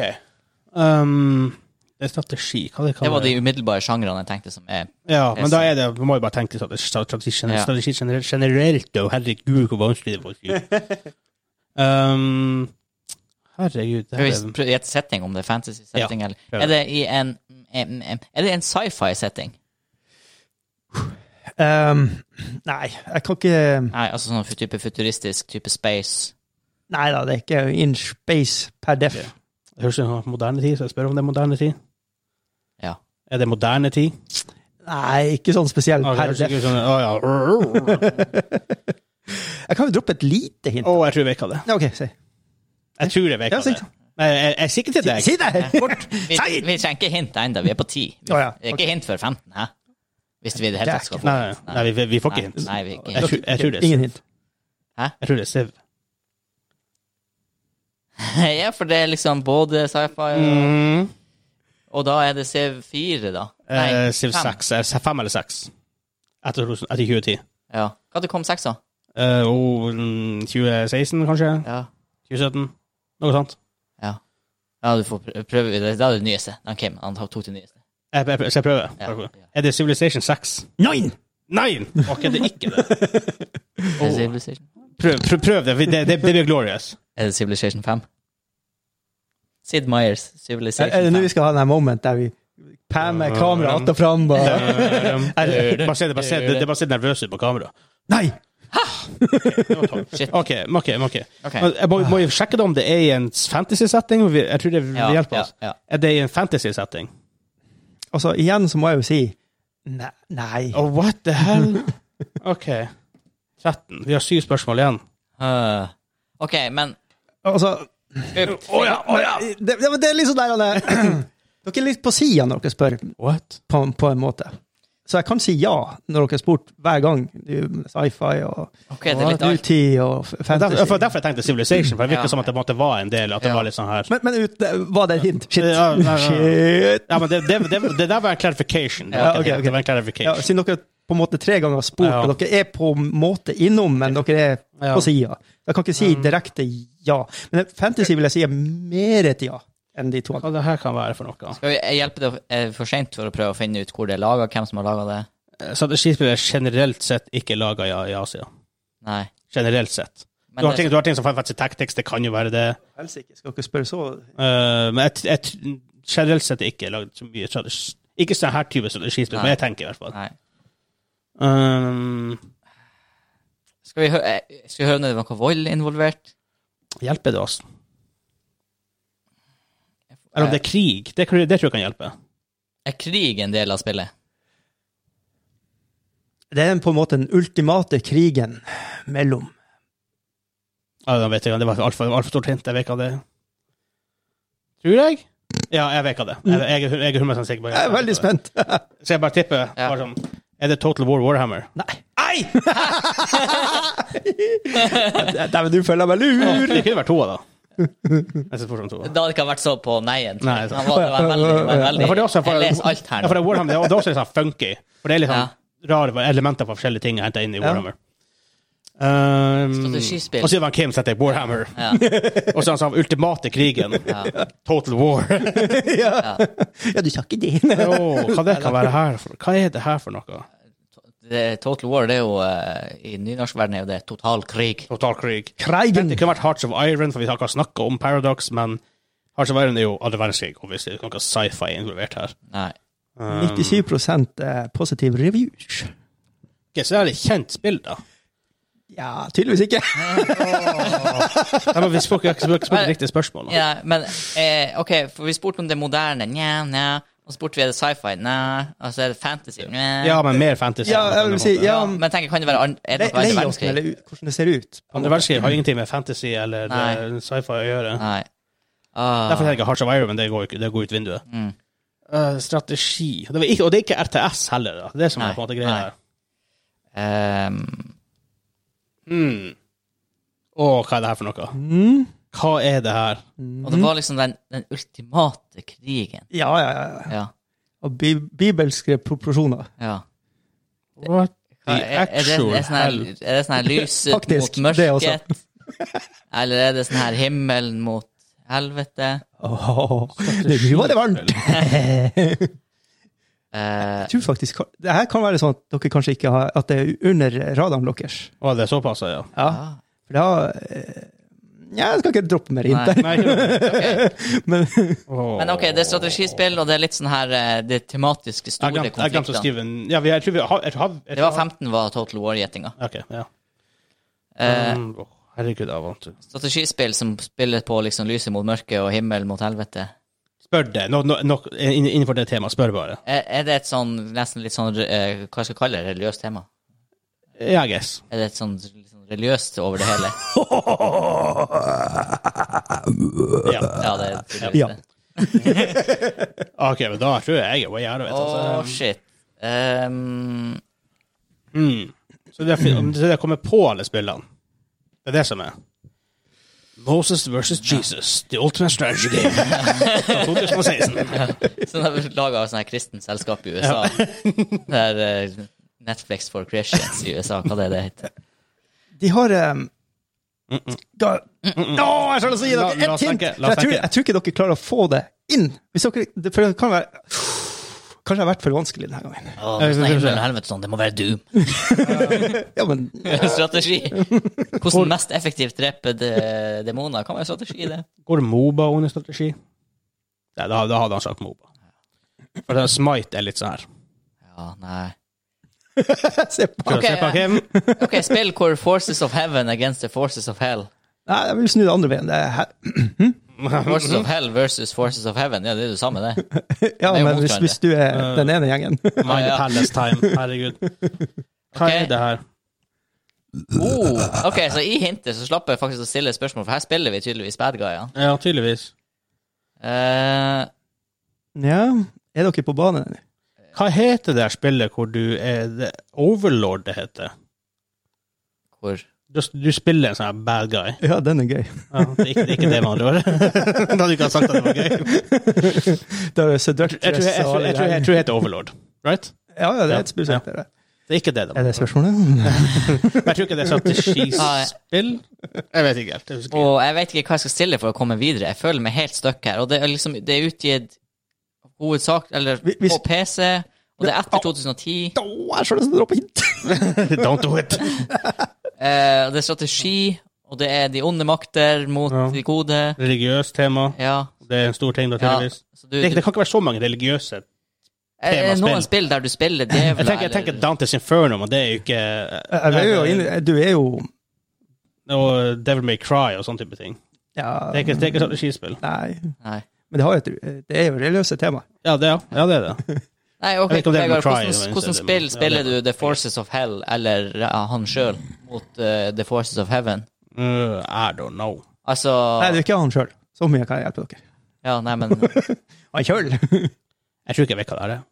Speaker 2: Um, det er strategi. Hva det kan
Speaker 1: Det var de
Speaker 2: være?
Speaker 1: umiddelbare sjangrene jeg tenkte som er
Speaker 2: Ja, men da er det Vi må jo bare tenke strategi, strategi,
Speaker 1: Ja.
Speaker 2: strategi generelt, generelt og herregud, hvor vanskelig det var. Um, herregud. Det
Speaker 1: Skal
Speaker 2: her
Speaker 1: vi
Speaker 2: er
Speaker 1: prøve i et setting, om det er fantasy setting eller
Speaker 2: prøv
Speaker 1: Er det i en em, em, Er det en sci-fi setting?
Speaker 3: Ehm, nei, jeg kan ikke
Speaker 1: Nei, altså sånn fu- type futuristisk, type space.
Speaker 3: Nei da, det er ikke in space per def.
Speaker 2: Ja. Det høres ut som moderne tid, så jeg spør om det er moderne tid.
Speaker 1: Ja.
Speaker 2: Er det moderne tid?
Speaker 3: Nei, ikke sånn spesiell
Speaker 2: Ah, det
Speaker 3: per
Speaker 2: høres
Speaker 3: def.
Speaker 2: ikke ut som- ah, ja.
Speaker 3: Jeg kan jo droppe et lite hint.
Speaker 2: Å, jeg tror jeg vet hva det er.
Speaker 3: Ja, OK, si.
Speaker 2: Jeg tror jeg vet
Speaker 3: Ja,
Speaker 2: hva
Speaker 3: si
Speaker 2: det er. Nei, Jeg jeg er sikker til deg.
Speaker 3: Si det! Kort.
Speaker 1: Vi,
Speaker 3: Si!
Speaker 1: vi trenger ikke hint ennå, vi er på 10. Vi,
Speaker 3: Å ja,
Speaker 1: Det er ikke hint før 15, hæ? Hvis vi i det hele tatt skal få
Speaker 2: Nei,
Speaker 1: hint.
Speaker 2: nei, nei, vi, vi får ikke hint.
Speaker 1: Nei, vi er ikke
Speaker 2: Jeg
Speaker 1: hint.
Speaker 2: tror, jeg tror det er
Speaker 3: Ingen hint.
Speaker 2: Jeg tror det er Siv.
Speaker 1: ja, for det er liksom både sci-fi
Speaker 2: Mm.
Speaker 1: og, og da er det CV4, da.
Speaker 2: Eh, Siv
Speaker 1: fem.
Speaker 2: 6. eh, Fem eller seks. Etter, 2000 etter 2010.
Speaker 1: Ja. Hva det kom seks, da?
Speaker 2: Eh, og, mm, 2016, kanskje?
Speaker 1: Ja.
Speaker 2: 2017? Noe sånt.
Speaker 1: ja. Ja, du får prø- prøve det. Da er det nyeste. Han Kim, han tok det nyeste.
Speaker 2: Jeg, jeg, jeg skal prøve.
Speaker 1: Ja.
Speaker 2: Er det Civilization 6?
Speaker 3: Nine!
Speaker 2: Nei! Ok, det er ikke det. Oh.
Speaker 1: Er det Civilization?
Speaker 2: Prøv, prøv, prøv det. for Det, det, det blir glorious.
Speaker 1: Er det Civilization 5? Sid Meyers,
Speaker 3: Er,
Speaker 1: Civilization
Speaker 3: er det nå
Speaker 1: 5.
Speaker 3: vi skal ha den her moment der vi pæmer kameraet att og fram og
Speaker 2: Er- Eh, Bare se det, bare se det. Det bare ser nervøs ut på kamera.
Speaker 3: Nei!
Speaker 1: Shit.
Speaker 2: OK, OK. ok.
Speaker 1: Ok.
Speaker 2: Men Jeg må, må jo sjekke det om det er i en fantasy-setting. Vi- Jeg tror det vil
Speaker 1: Ja,
Speaker 2: hjelpe
Speaker 1: ja,
Speaker 2: oss.
Speaker 1: ja.
Speaker 2: Er det i en fantasy-setting?
Speaker 3: Altså, igjen så må jeg jo si ne- Nei.
Speaker 2: Oh, what the hell? OK. 13. Vi har syv spørsmål igjen.
Speaker 1: Øh. OK, men
Speaker 3: Altså
Speaker 1: Opp.
Speaker 3: det, det, det er litt sånn der Anne. Dere er litt på sida når dere spør,
Speaker 2: What?
Speaker 3: på, på en måte. Så jeg kan si ja når dere har spurt hver gang. Det er jo Sci-fi og
Speaker 1: OK, det er litt alt.
Speaker 3: nutid og f-
Speaker 2: Derfor,
Speaker 3: fantasy.
Speaker 2: for derfor jeg tenkte Civilization, for det virker
Speaker 1: Ja.
Speaker 2: som at det på en måte var en del. At det
Speaker 1: Ja.
Speaker 2: var litt sånn her. Eh,
Speaker 3: Men, men ut, var det et hint? Shit.
Speaker 2: Ja, nei, nei, nei.
Speaker 3: Shit.
Speaker 2: Ja, men det, det, det, det der var en clarification. Det var,
Speaker 3: Ja,
Speaker 2: ikke
Speaker 3: ok,
Speaker 2: det.
Speaker 3: ok.
Speaker 2: Det var en
Speaker 3: Ja,
Speaker 2: clarification.
Speaker 3: siden dere på en måte tre ganger har spurt,
Speaker 2: Ja.
Speaker 3: og dere er på en måte innom, men dere er
Speaker 2: Ja.
Speaker 3: på sida. Jeg kan ikke si direkte ja. Men fantasy vil jeg si er mer et ja enn de to
Speaker 2: Hva
Speaker 3: andre.
Speaker 2: det her kan være for noe?
Speaker 1: Skal vi hjelpe deg eh, for seint for å prøve å finne ut hvor det er laga, hvem som har laga det?
Speaker 2: Strategispill er generelt sett ikke laga i, i Asia.
Speaker 1: Nei.
Speaker 2: Generelt sett.
Speaker 1: Men
Speaker 2: du, har
Speaker 1: det-
Speaker 2: ting, du har ting som Final Fantasy Tactics, det kan jo være det.
Speaker 3: Helsike, skal dere spørre så
Speaker 2: Eh, men jeg, t- jeg, t- generelt sett er ikke lagd så mye strategi. Ikke sånn her type strategispill,
Speaker 1: Nei.
Speaker 2: men jeg tenker i hvert fall.
Speaker 1: Nei.
Speaker 2: Um,
Speaker 1: Skal vi, hø eh, skal vi høre om det er noe vold involvert?
Speaker 2: hjelper det oss? Eller
Speaker 3: Eh.
Speaker 2: om det er krig? Det, kan- det tror jeg kan hjelpe.
Speaker 1: Er krig en del av spillet?
Speaker 3: Det er på en måte den ultimate krigen mellom
Speaker 2: Ja, da vet jeg, det var et altfor alt stort hint. Jeg vet hva det er. Tror jeg? Ja, jeg vet hva det er. Jeg, jeg, er- jeg er 100 sikker på det.
Speaker 3: Jeg er veldig spent.
Speaker 2: Så jeg bare tipper.
Speaker 1: Ja.
Speaker 2: Bare sånn, er det Total War Warhammer?
Speaker 3: Nei! Dæven, du føler
Speaker 2: Å,
Speaker 3: meg lur!
Speaker 2: det kunne vært toa, da. Jeg synes fortsatt toa.
Speaker 1: Da hadde det ikke vært så på neien. tror
Speaker 2: Nei,
Speaker 1: jeg.
Speaker 2: sant.
Speaker 1: Han var, det var veldig, det var veldig
Speaker 2: Ja, for det er også- for-
Speaker 1: Jeg leser alt
Speaker 2: Ja,
Speaker 1: her
Speaker 2: for
Speaker 1: nå.
Speaker 2: det er Warhammer det er- det er også litt sånn funky. For det er litt sånn rare elementer fra forskjellige ting jeg henter inn i Warhammer. Um,
Speaker 1: Strategispill.
Speaker 2: Og så var han Kim setter Warhammer. og så han sa ultimate krigen. Total War.
Speaker 3: Ja. ja, du sa ikke det.
Speaker 2: Åh, hva det kan være her for? Hva er det her for noe?
Speaker 1: Det, Total War det er jo eh, I nynorskverdenen er jo det total krig.
Speaker 2: Total krig.
Speaker 3: Kreigen.
Speaker 2: Det kunne vært Hearts of Iron, for vi har ikke snakka om Paradox, men Hearts of Iron er jo andre verdenskrig, obviously. Det er noe sci-fi involvert her.
Speaker 1: Nei.
Speaker 3: 97 er eh, positive reviews.
Speaker 2: Ok, så det er et kjent spill, da.
Speaker 3: Ja, tydeligvis ikke.
Speaker 2: Nei, men vi spør ikke, spør ikke, spør
Speaker 1: Nei.
Speaker 2: ikke riktig spørsmål. da.
Speaker 1: Ja, men eh, OK, for vi spurte om det moderne. Nja, nja. Og så spurte vi er det sci-fi. Nja. Og så er det fantasy. Nja.
Speaker 2: Ja, men mer fantasy.
Speaker 3: Ja, jeg vil si, ja,
Speaker 1: Ja, men jeg tenker, kan det være an- er det
Speaker 3: le-
Speaker 1: noe annet
Speaker 3: Lei oss
Speaker 1: verdenskrig?
Speaker 3: eller u- hvordan det ser ut.
Speaker 2: Andre verdenskrig har ingenting med fantasy eller
Speaker 1: Nei.
Speaker 2: eh, sci-fi å gjøre.
Speaker 1: Nei. Ah.
Speaker 2: Derfor tenker jeg Hearts of Iron, men det går, ikke, det går ut vinduet.
Speaker 1: Mm.
Speaker 2: Eh, strategi det var ikke, Og det er ikke RTS heller, da. Det er som
Speaker 1: Nei,
Speaker 2: er på en måte greia
Speaker 1: nei.
Speaker 2: her.
Speaker 1: Ehm,
Speaker 2: Mm. Å, hva er det her for noe?
Speaker 3: Mm.
Speaker 2: Hva er det her?
Speaker 1: og
Speaker 2: Mhm.
Speaker 1: det var liksom den, den ultimate krigen.
Speaker 3: Ja, ja, ja.
Speaker 1: Ja.
Speaker 3: Og bi bibelske proporsjoner.
Speaker 1: ja.
Speaker 2: What
Speaker 1: Er,
Speaker 2: the
Speaker 1: er, er, det,
Speaker 2: actual
Speaker 1: er, det sånn her,
Speaker 2: hell?
Speaker 1: er det sånn her lyset
Speaker 3: Faktisk,
Speaker 1: mot
Speaker 3: det også.
Speaker 1: mørket? Eller er det sånn her himmelen mot helvete?
Speaker 3: Åh, det nå var det varmt! Jeg
Speaker 1: Eh,
Speaker 3: tror faktisk ka- Det her kan være sånn at dere kanskje ikke har At det er under radaren deres.
Speaker 2: Å, det er såpass, ja.
Speaker 3: Ja.
Speaker 1: ah,
Speaker 3: For da eh, Ja, jeg skal ikke droppe mer inn der.
Speaker 2: Nei, ikke-
Speaker 1: ok.
Speaker 3: Men
Speaker 2: Åh.
Speaker 1: Men ok, det er strategispill, og det er litt sånn her eh, det tematiske
Speaker 2: Jeg
Speaker 1: store
Speaker 2: glemte- jeg glemte å
Speaker 1: konfliktene.
Speaker 2: skrive en ja, vi, jeg tror vi har, jeg, har, jeg,
Speaker 1: Det var 15 var Total War-gjettinga.
Speaker 2: Ok, ja.
Speaker 1: Eh,
Speaker 2: Mm, åh, herregud, jeg vant.
Speaker 1: strategispill som spiller på liksom lyset mot mørket og himmelen mot helvete.
Speaker 2: Spør det. Nå- nå- nå- inn- innenfor det temaet, spør bare.
Speaker 1: Er, er det et sånn nesten litt sånn eh, Hva skal jeg kalle det? Religiøst tema?
Speaker 2: Ja, I guess.
Speaker 1: Er det et sånn litt sånn religiøst over det hele?
Speaker 2: Ja.
Speaker 1: Ja, det er tydeligvis
Speaker 3: Ja.
Speaker 1: det.
Speaker 2: Ok, men da tror jeg jeg er way out of it.
Speaker 1: Å,
Speaker 2: Altså.
Speaker 1: shit. Ehm,
Speaker 2: Mm. Så det, er fint om- så det kommer på alle spillene. Det er det som er. Moses versus Jesus, the ultimate strategy game. Fra 2016.
Speaker 1: sånn har vi laga sånn her kristent selskap i USA. Det er eh, Netflix for Christians i USA, hva det er det heter.
Speaker 3: de har um, da, Å, jeg skal si dere
Speaker 2: La- la
Speaker 3: et
Speaker 2: oss
Speaker 3: hint!
Speaker 2: snakke,
Speaker 3: For
Speaker 2: la oss
Speaker 3: Jeg tror,
Speaker 2: snakke.
Speaker 3: jeg tror ikke dere klarer å få det inn. Hvis dere, det- for det kan være Kanskje jeg har vært for vanskelig denne gangen.
Speaker 1: Å, det er sånn himmel og helvete sånn, det må være Doom.
Speaker 3: Ja, men
Speaker 1: Strategi. Hvordan mest effektivt drepe de- demoner? Kan være strategi, det.
Speaker 2: Går Moba under strategi? Ja, da, da hadde han sagt Moba. For det er Smite er litt sånn her.
Speaker 1: Ja, nei.
Speaker 3: se på.
Speaker 2: Skal
Speaker 1: Ok,
Speaker 2: vi se på
Speaker 1: ja.
Speaker 2: Kim?
Speaker 1: OK, spill hvor Forces of Heaven against the Forces of Hell.
Speaker 3: Nei, jeg vil snu det andre veien. Det er her.
Speaker 1: Forces of Hell versus Forces of Heaven, ja, det er det samme, det. Det
Speaker 3: Ja,
Speaker 1: er jo
Speaker 3: men hvis,
Speaker 1: motstand,
Speaker 3: hvis du er den ene gjengen
Speaker 2: Mind
Speaker 1: Ja.
Speaker 2: Palace time. Herregud. Hva
Speaker 1: Ok.
Speaker 2: er det her?
Speaker 1: Oh, ok, så i hintet så slapp jeg faktisk å stille spørsmål, for her spiller vi tydeligvis bad guy, ja.
Speaker 2: Ja, tydeligvis.
Speaker 1: Eh,
Speaker 3: Ja, er dere på banen? eller?
Speaker 2: Hva heter det her spillet hvor du er det- Overlord, det heter?
Speaker 1: hvor
Speaker 2: Du, du spiller en sånn her bad guy.
Speaker 3: Ja, den er gøy.
Speaker 2: Ja, det, er ikke, det er ikke det med andre ord. da hadde du ikke sagt at det var gøy.
Speaker 3: Da er det seductress
Speaker 2: Jeg tror, jeg, jeg,
Speaker 3: og
Speaker 2: tror-
Speaker 3: alle
Speaker 2: jeg, tror- jeg
Speaker 3: der.
Speaker 2: tror jeg heter Overlord. Right?
Speaker 3: Ja, ja, det er et
Speaker 2: Ja.
Speaker 3: spill som heter det.
Speaker 2: Det er ikke det, da.
Speaker 3: Er det spørsmålet?
Speaker 2: Men Jeg tror ikke det er strategispill. Jeg vet ikke helt. Jeg husker ikke.
Speaker 1: Og jeg vet ikke hva jeg skal stille for å komme videre. Jeg føler meg helt stuck her. Og det er liksom det er utgitt hovedsak Eller
Speaker 3: Vi- vi-
Speaker 1: på PC, og det er etter 2010.
Speaker 3: Å, jeg skjønner som dropper hint!
Speaker 2: Don't do it.
Speaker 1: Eh, og det er strategi, og det er de onde makter mot
Speaker 2: Ja.
Speaker 1: de gode.
Speaker 2: Religiøst tema.
Speaker 1: Ja.
Speaker 2: Det er en stor ting, da,
Speaker 1: ja.
Speaker 2: tydeligvis.
Speaker 1: Så du,
Speaker 2: Det,
Speaker 1: du,
Speaker 2: det kan ikke være så mange religiøse.
Speaker 1: er det
Speaker 2: temaspill.
Speaker 1: noen spill der du spiller djevler?
Speaker 2: Jeg tenker, jeg tenker Dantes Inferno, men det er jo ikke
Speaker 3: Jeg er jo inne, du er jo
Speaker 2: Og Devil May Cry og sånn type ting.
Speaker 3: Ja,
Speaker 2: Det er ikke, det er ikke strategispill.
Speaker 3: nei.
Speaker 1: Nei.
Speaker 3: Men det, har jo et, det er jo religiøse tema.
Speaker 2: Ja, det, er- ja, det er det.
Speaker 1: Nei, ok,
Speaker 2: Jeg vet ikke om det er
Speaker 1: Vegard,
Speaker 2: Cry,
Speaker 1: hvordan,
Speaker 2: men-
Speaker 1: hvordan spill
Speaker 2: Ja, det-
Speaker 1: spiller du The Forces of Hell eller ja, han sjøl mot eh, The Forces of Heaven?
Speaker 2: Uh, I don't know.
Speaker 1: Altså
Speaker 3: Nei, det er ikke han sjøl. Så mye kan jeg hjelpe dere.
Speaker 1: Ja, nei, men
Speaker 3: Han sjøl?
Speaker 2: Jeg tror ikke jeg vet hva det er.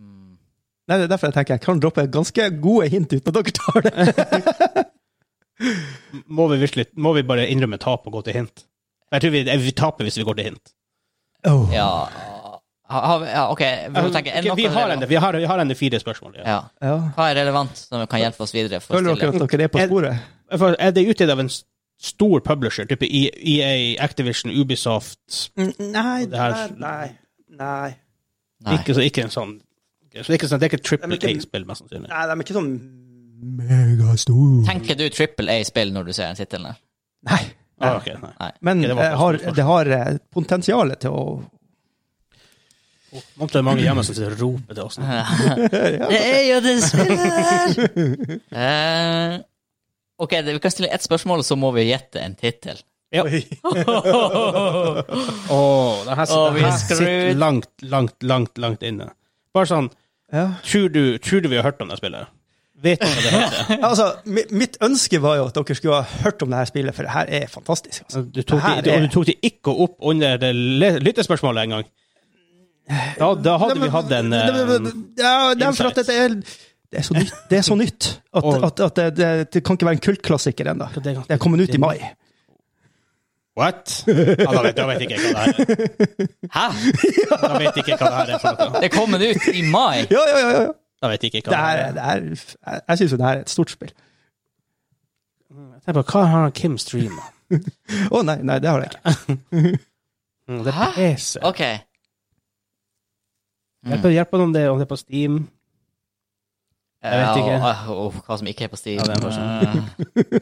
Speaker 3: Nei, det er derfor jeg tenker jeg kan droppe ganske gode hint uten at dere tar det.
Speaker 2: Må vi, virkelig, må vi bare innrømme tap og gå til hint? Jeg tror vi, vi taper hvis vi går til hint.
Speaker 3: Oh.
Speaker 1: Ja, ha, ha, ja OK. Vi, må tenke, er
Speaker 2: Ok,
Speaker 1: noe
Speaker 2: Altså, vi, har en,
Speaker 1: relevant?
Speaker 2: vi, har, vi har en fire spørsmål. Ja.
Speaker 1: Ja.
Speaker 3: Ja.
Speaker 1: Hva er relevant som kan hjelpe oss videre? For å
Speaker 3: Føler dere
Speaker 1: stille?
Speaker 3: at dere er på
Speaker 2: Jeg-
Speaker 3: sporet?
Speaker 2: For Er det utgitt av en s- stor publisher, type E- EA, Activision, Ubisoft
Speaker 3: Nei,
Speaker 2: Det her-
Speaker 3: nei, nei.
Speaker 1: Nei.
Speaker 2: ikke, så, ikke en sånn så det, er ikke sånn, det er ikke triple
Speaker 3: Men ikke-
Speaker 2: K-spill, mest sannsynlig.
Speaker 3: Nei, de er ikke sånn megastor.
Speaker 1: Tenker du trippel A-spill når du ser den tittelen? der?
Speaker 3: Nei.
Speaker 2: Ah, ok, nei.
Speaker 3: Men
Speaker 2: Ok, det var
Speaker 3: eh, har,
Speaker 2: spørsmål.
Speaker 3: det har eh, potensialet til å
Speaker 2: Nå tror jeg mange hjemme som sitter og roper til oss. nå.
Speaker 1: Det er jo det spillet der! Eh, Ok, det, vi kan stille ett spørsmål, så må vi gjette en tittel.
Speaker 2: Ja. Åh, det her sitter,
Speaker 1: Åh, vi er
Speaker 2: det her sitter
Speaker 1: screwed.
Speaker 2: langt, langt, langt langt inne. Bare sånn
Speaker 3: Ja.
Speaker 2: Tror du, tror du vi har hørt om det spillet? Vet du hva det heter?
Speaker 3: Ja, altså, mi- mitt ønske var jo at dere skulle ha hørt om det her spillet, for det her er fantastisk. Altså.
Speaker 2: Du tok,
Speaker 3: her
Speaker 2: det,
Speaker 3: er-
Speaker 2: og du tok det ikke opp under det le- lyttespørsmålet engang. Da, da hadde vi hatt en
Speaker 3: Nei, men-
Speaker 2: eh,
Speaker 3: Ja, det er for
Speaker 2: insight.
Speaker 3: at det er, det er så nytt, det er så nytt at,
Speaker 2: Og-
Speaker 3: at, at det, det, det kan ikke være en kultklassiker ennå.
Speaker 2: det kan-
Speaker 3: Det er kommet ut i mai.
Speaker 2: What? Ja, da, vet, da vet ikke jeg hva det her er.
Speaker 1: Hæ?
Speaker 2: Da vet ikke jeg hva det her er for noe.
Speaker 1: Det er kommet ut i mai!
Speaker 3: Ja, ja, ja. ja.
Speaker 2: Da vet ikke jeg
Speaker 3: Det
Speaker 2: hva det
Speaker 3: er,
Speaker 2: her er.
Speaker 3: det er, jeg- jeg syns jo det her er et stort spill.
Speaker 2: Mm, Jeg tenker på, Hva har Kim streama?
Speaker 3: Å nei, nei, det har jeg ikke.
Speaker 2: Mm, Det
Speaker 1: Hæ?
Speaker 2: er PC.
Speaker 1: Ok.
Speaker 2: Hjelp hjelp meg om det, om det er på Steam. Jeg vet ikke.
Speaker 1: Ja, og- og- og hva som ikke er på Steam.
Speaker 2: Ja, det er bare sånn.
Speaker 1: Eh,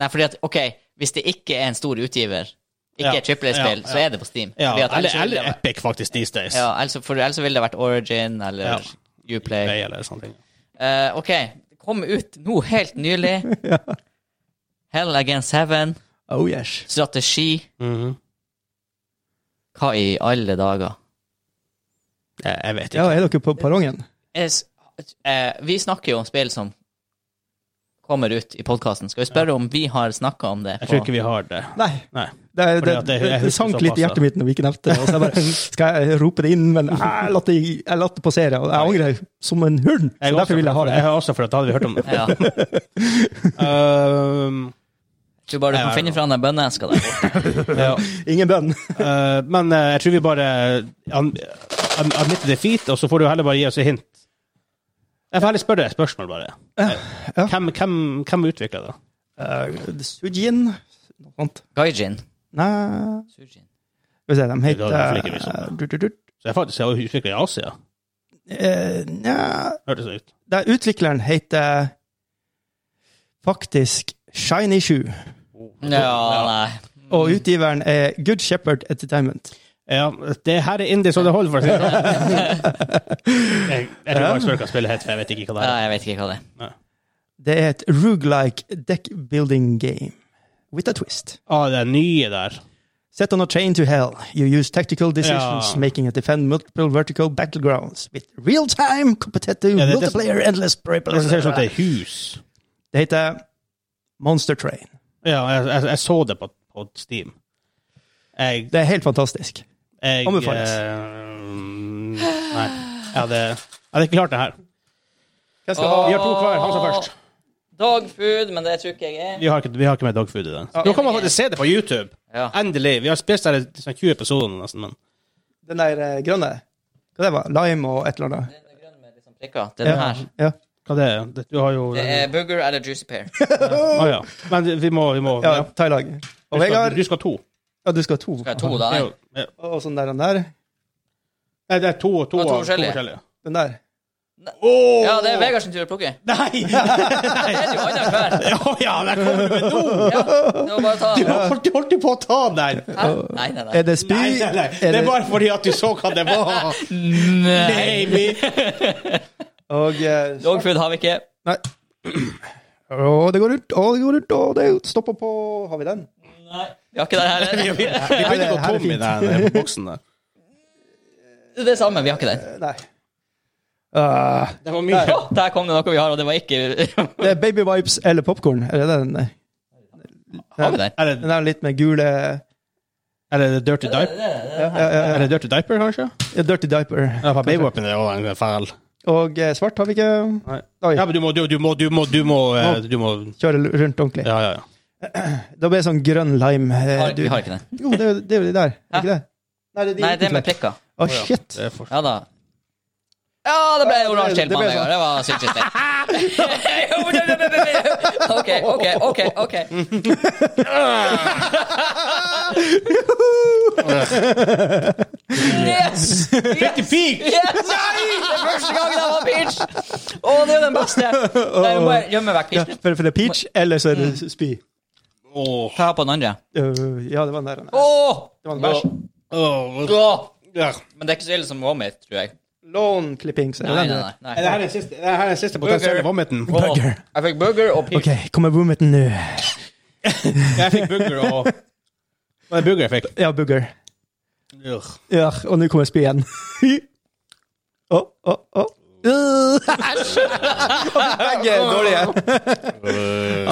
Speaker 1: Nei, fordi at, ok, hvis det ikke er en stor utgiver, ikke
Speaker 2: Ja,
Speaker 1: et AAA-spill,
Speaker 2: ja,
Speaker 1: så
Speaker 2: ja.
Speaker 1: er det på Steam.
Speaker 2: Ja,
Speaker 1: Fordi at
Speaker 2: eller,
Speaker 1: ellers ville
Speaker 2: eller
Speaker 1: det vært-
Speaker 2: Epic, faktisk, these days.
Speaker 1: ja, ellers, for ellers ville det vært Origin eller
Speaker 2: Ja.
Speaker 1: Uplay.
Speaker 2: Play eller sånne ting.
Speaker 1: Eh, ok, det kom ut nå helt nylig. Hell Against Heaven,
Speaker 3: Oh yes.
Speaker 1: strategi.
Speaker 2: Mhm.
Speaker 1: Hva i alle dager?
Speaker 2: jeg, jeg vet ikke.
Speaker 3: Ja, er dere på perrongen?
Speaker 1: Jeg s- eh, vi snakker jo om spill som kommer ut i podkasten. Skal vi spørre om vi har snakka om det?
Speaker 2: Jeg
Speaker 1: på-
Speaker 2: tror ikke vi har det.
Speaker 3: Nei.
Speaker 2: Nei.
Speaker 3: Det, det,
Speaker 2: Fordi at
Speaker 3: det,
Speaker 2: jeg- jeg husker
Speaker 3: sank
Speaker 2: såpass,
Speaker 3: litt i
Speaker 2: da.
Speaker 3: hjertet mitt når vi ikke nevnte det. Og så jeg bare, skal jeg rope det inn, men jeg lot det, jeg lot det passere. Og jeg angrer som en
Speaker 2: Jeg
Speaker 3: hund. Så
Speaker 2: også-
Speaker 3: derfor vil jeg ha det.
Speaker 2: Jeg har også, for at da hadde vi hørt om det.
Speaker 1: Ja. Jeg
Speaker 2: Ehm,
Speaker 1: tror bare du kan finne fram den bønneeska der.
Speaker 2: ja.
Speaker 3: Ingen bønn.
Speaker 2: Eh, men eh, jeg tror vi bare an- an- admitter defeat, og så får du heller bare gi oss et hint. Jeg får heller spørre deg et spørsmål, bare. Eh,
Speaker 3: ja.
Speaker 2: Hvem, hvem, hvem utvikla det?
Speaker 3: Uh, Sujin Noe sånt.
Speaker 1: Gaijin.
Speaker 3: Nei
Speaker 1: Sujin.
Speaker 3: Skal vi se, de
Speaker 2: Det er derfor ikke vi så
Speaker 3: heter eh,
Speaker 2: det.
Speaker 3: du, du, du,
Speaker 2: Så jeg faktisk har utvikla i Asia,
Speaker 3: eh, nja,
Speaker 2: hørtes det ut.
Speaker 3: det er Utvikleren heter faktisk Shiny Shoe,
Speaker 1: Ja, nei.
Speaker 2: Mm.
Speaker 3: og utgiveren er Good Shepherd Entertainment.
Speaker 2: Ja, det her er indie så det holder, for å si det sånn. Jeg, jeg tror bare jeg spør hva spillet heter, for jeg vet ikke hva det er.
Speaker 1: Nei, Jeg vet ikke hva det er.
Speaker 3: Det er et roguelike deck building game with a twist.
Speaker 2: Å, Ah, det er nye der.
Speaker 3: Set on a train to hell, you use tactical decisions,
Speaker 2: Ja.
Speaker 3: making it defend multiple vertical battlegrounds with real-time competitive
Speaker 2: Ja, det- det-
Speaker 3: multiplayer endless
Speaker 2: Det ser ut som at det
Speaker 3: Det
Speaker 2: er hus.
Speaker 3: heter Monster Train.
Speaker 2: Ja, jeg, jeg, jeg så det på, på Steam. Jeg,
Speaker 3: Det er helt fantastisk.
Speaker 2: jeg
Speaker 3: Anbefales.
Speaker 2: eh, Nei. Jeg hadde, jeg hadde ikke klart det her.
Speaker 3: Hva skal
Speaker 1: Åh.
Speaker 2: Vi har to hver. Han som først.
Speaker 1: Dogfood, men det tror ikke jeg er.
Speaker 2: Vi har ikke, vi har ikke med dogfood i den. Nå kan man faktisk se det på YouTube.
Speaker 1: Ja.
Speaker 2: Endelig. Vi har spist her i sånn 20 episoder nesten, men
Speaker 3: Den der eh, grønne, hva det var? Lime og et eller annet?
Speaker 1: Den er grønn med litt sånn prikker. Det er den
Speaker 3: Ja.
Speaker 1: her.
Speaker 3: Ja.
Speaker 2: hva det er det? Du har jo
Speaker 1: Det er Booger eller Juicy Pear.
Speaker 2: Å, ja. Men vi må, vi må
Speaker 3: ja,
Speaker 2: ja.
Speaker 3: ta i lag.
Speaker 2: Du, skal,
Speaker 3: Og Vegard,
Speaker 2: du skal ha to.
Speaker 3: ja, du skal ha to.
Speaker 1: Skal jeg ha to, da?
Speaker 2: Det er
Speaker 1: Nei.
Speaker 2: jo- ja.
Speaker 3: Og sånn der, den der.
Speaker 2: Nei, det er to og to,
Speaker 1: Og to
Speaker 2: av-
Speaker 1: forskjellige.
Speaker 3: Den der.
Speaker 2: Åh!
Speaker 1: Ja, det er Vegard sin tur å plukke.
Speaker 2: Nei!
Speaker 1: Det er jo annen hver.
Speaker 2: Å ja, der kommer du med to!
Speaker 1: Ja, det var bare å ta
Speaker 2: Du holdt, du holdt jo på å ta den!
Speaker 1: Hæ? Nei, nei, nei.
Speaker 3: Er det spy?
Speaker 2: Nei, nei, nei.
Speaker 3: Er
Speaker 2: Det
Speaker 3: det,
Speaker 2: er bare fordi at du så hva det var. eh,
Speaker 1: Nei.
Speaker 2: Baby!
Speaker 3: og eh,
Speaker 1: Dogfood har vi ikke.
Speaker 3: Nei. Å, det går rundt, å, det går rundt, å, det stopper på Har vi den?
Speaker 1: Nei. Vi har ikke den her
Speaker 2: Vi
Speaker 1: heller.
Speaker 2: begynner å gå
Speaker 3: Her er
Speaker 2: tom i
Speaker 3: fint.
Speaker 2: den eh, boksen der.
Speaker 1: Det er det samme, vi har ikke den.
Speaker 3: Eh, Nei. Ah,
Speaker 2: Det var mye.
Speaker 1: Å, Der kom det noe vi har, og det var ikke
Speaker 3: det er Baby Vibes eller popkorn. Er det den? Nei.
Speaker 1: Har vi den?
Speaker 2: Er det,
Speaker 3: Den er litt med gule
Speaker 2: er det Dirty Diaper? Er det Dirty Diaper, kanskje?
Speaker 3: ja, Dirty diaper.
Speaker 2: Ja, for Baby Weapon er jo en fæl.
Speaker 3: Og eh, svart har vi ikke. Oi,
Speaker 2: Ja, men du må, du, du må, du må, du må, eh, du må
Speaker 3: kjøre rundt ordentlig.
Speaker 2: Ja, ja, ja.
Speaker 3: Da blir det sånn grønn lime. eh,
Speaker 1: Har-
Speaker 3: du-
Speaker 1: Vi har ikke den.
Speaker 3: Jo, det, er jo- det er jo de der. Er ikke det? Nei, det er
Speaker 1: Nei, det
Speaker 3: de
Speaker 1: er
Speaker 3: utenfor.
Speaker 1: med prikker.
Speaker 3: Å,
Speaker 2: Å, ja.
Speaker 3: shit.
Speaker 2: Det er for-
Speaker 1: Ja da. Ja, det ble oransje
Speaker 3: det
Speaker 1: tilbane,
Speaker 3: ble sånn.
Speaker 1: Vegard. Det var syltestek. OK, OK, OK. ok. Yes!
Speaker 2: Fikk en
Speaker 1: yes!
Speaker 2: pik!
Speaker 1: Yes! Det er første gangen jeg var peach! Å, det er den beste. Nei, nå må jeg gjemme vekk
Speaker 3: Ja,
Speaker 1: peachen.
Speaker 3: for, for det er peach,
Speaker 1: Mm.
Speaker 3: eller så er det spy.
Speaker 2: Åh,
Speaker 1: Ta på den andre.
Speaker 3: Øh, ja, det var den der. den der.
Speaker 1: Åh!
Speaker 3: Det var en bæsj.
Speaker 2: åh,
Speaker 1: Åh!
Speaker 2: ja.
Speaker 1: Men det er ikke så ille som vomit, tror jeg.
Speaker 3: Lone clipping. Så er det
Speaker 1: Nei,
Speaker 3: den du
Speaker 1: nei,
Speaker 3: vet.
Speaker 1: nei.
Speaker 2: Er det
Speaker 1: nei.
Speaker 2: her den siste, er det her den siste potensielle vomiten?
Speaker 1: Åh,
Speaker 3: Bugger.
Speaker 4: Jeg fikk burger og pig.
Speaker 3: OK, kommer boometen nå?
Speaker 2: Jeg fikk bugger og Hva er det bugger jeg fikk?
Speaker 3: Ja, bugger.
Speaker 2: Urgh.
Speaker 3: Ja, og nå kommer spy igjen. Å, å, å. Øh, Æsj! Begge er dårlige.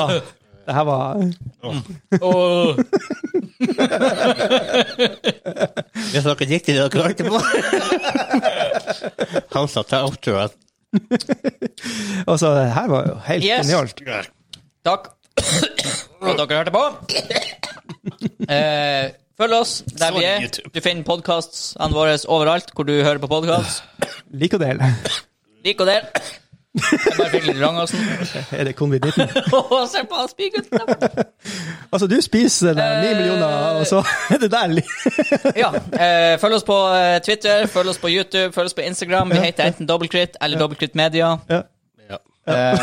Speaker 3: Ah, det her var
Speaker 1: Åh.
Speaker 2: Hvis dere likte det dere klarte på Han sa ta opp, tror jeg.
Speaker 3: Altså, det her var jo helt
Speaker 1: Yes.
Speaker 3: genialt.
Speaker 1: Takk for at dere hørte på. Eh, følg oss der vi er. Du finner podkastene våre overalt hvor du hører på podkast.
Speaker 3: Lik og del.
Speaker 1: Lik og del. Jeg bare fikk litt rangåsen.
Speaker 3: Er det covid-19?
Speaker 1: Åh, Se på han spygutten!
Speaker 3: Altså, du spiser det der, ni
Speaker 1: Eh.
Speaker 3: millioner, og så er det der li-
Speaker 1: Ja. Eh, følg oss på eh, Twitter, følg oss på YouTube, følg oss på Instagram. Vi heter enten Dobbeltkritt eller Dobbeltkritt Media.
Speaker 3: Ja.
Speaker 1: Eh,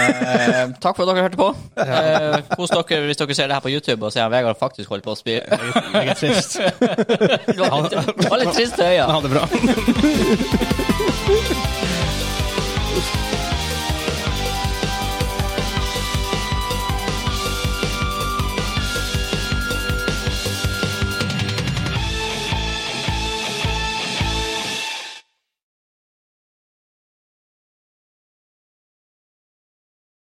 Speaker 1: takk for at dere hørte på. Eh, kos dere hvis dere ser det her på YouTube og ser at Vegard faktisk holdt på å spy.
Speaker 2: Jeg er trist.
Speaker 1: Du har litt, du har litt triste øyne.
Speaker 2: Ha det bra.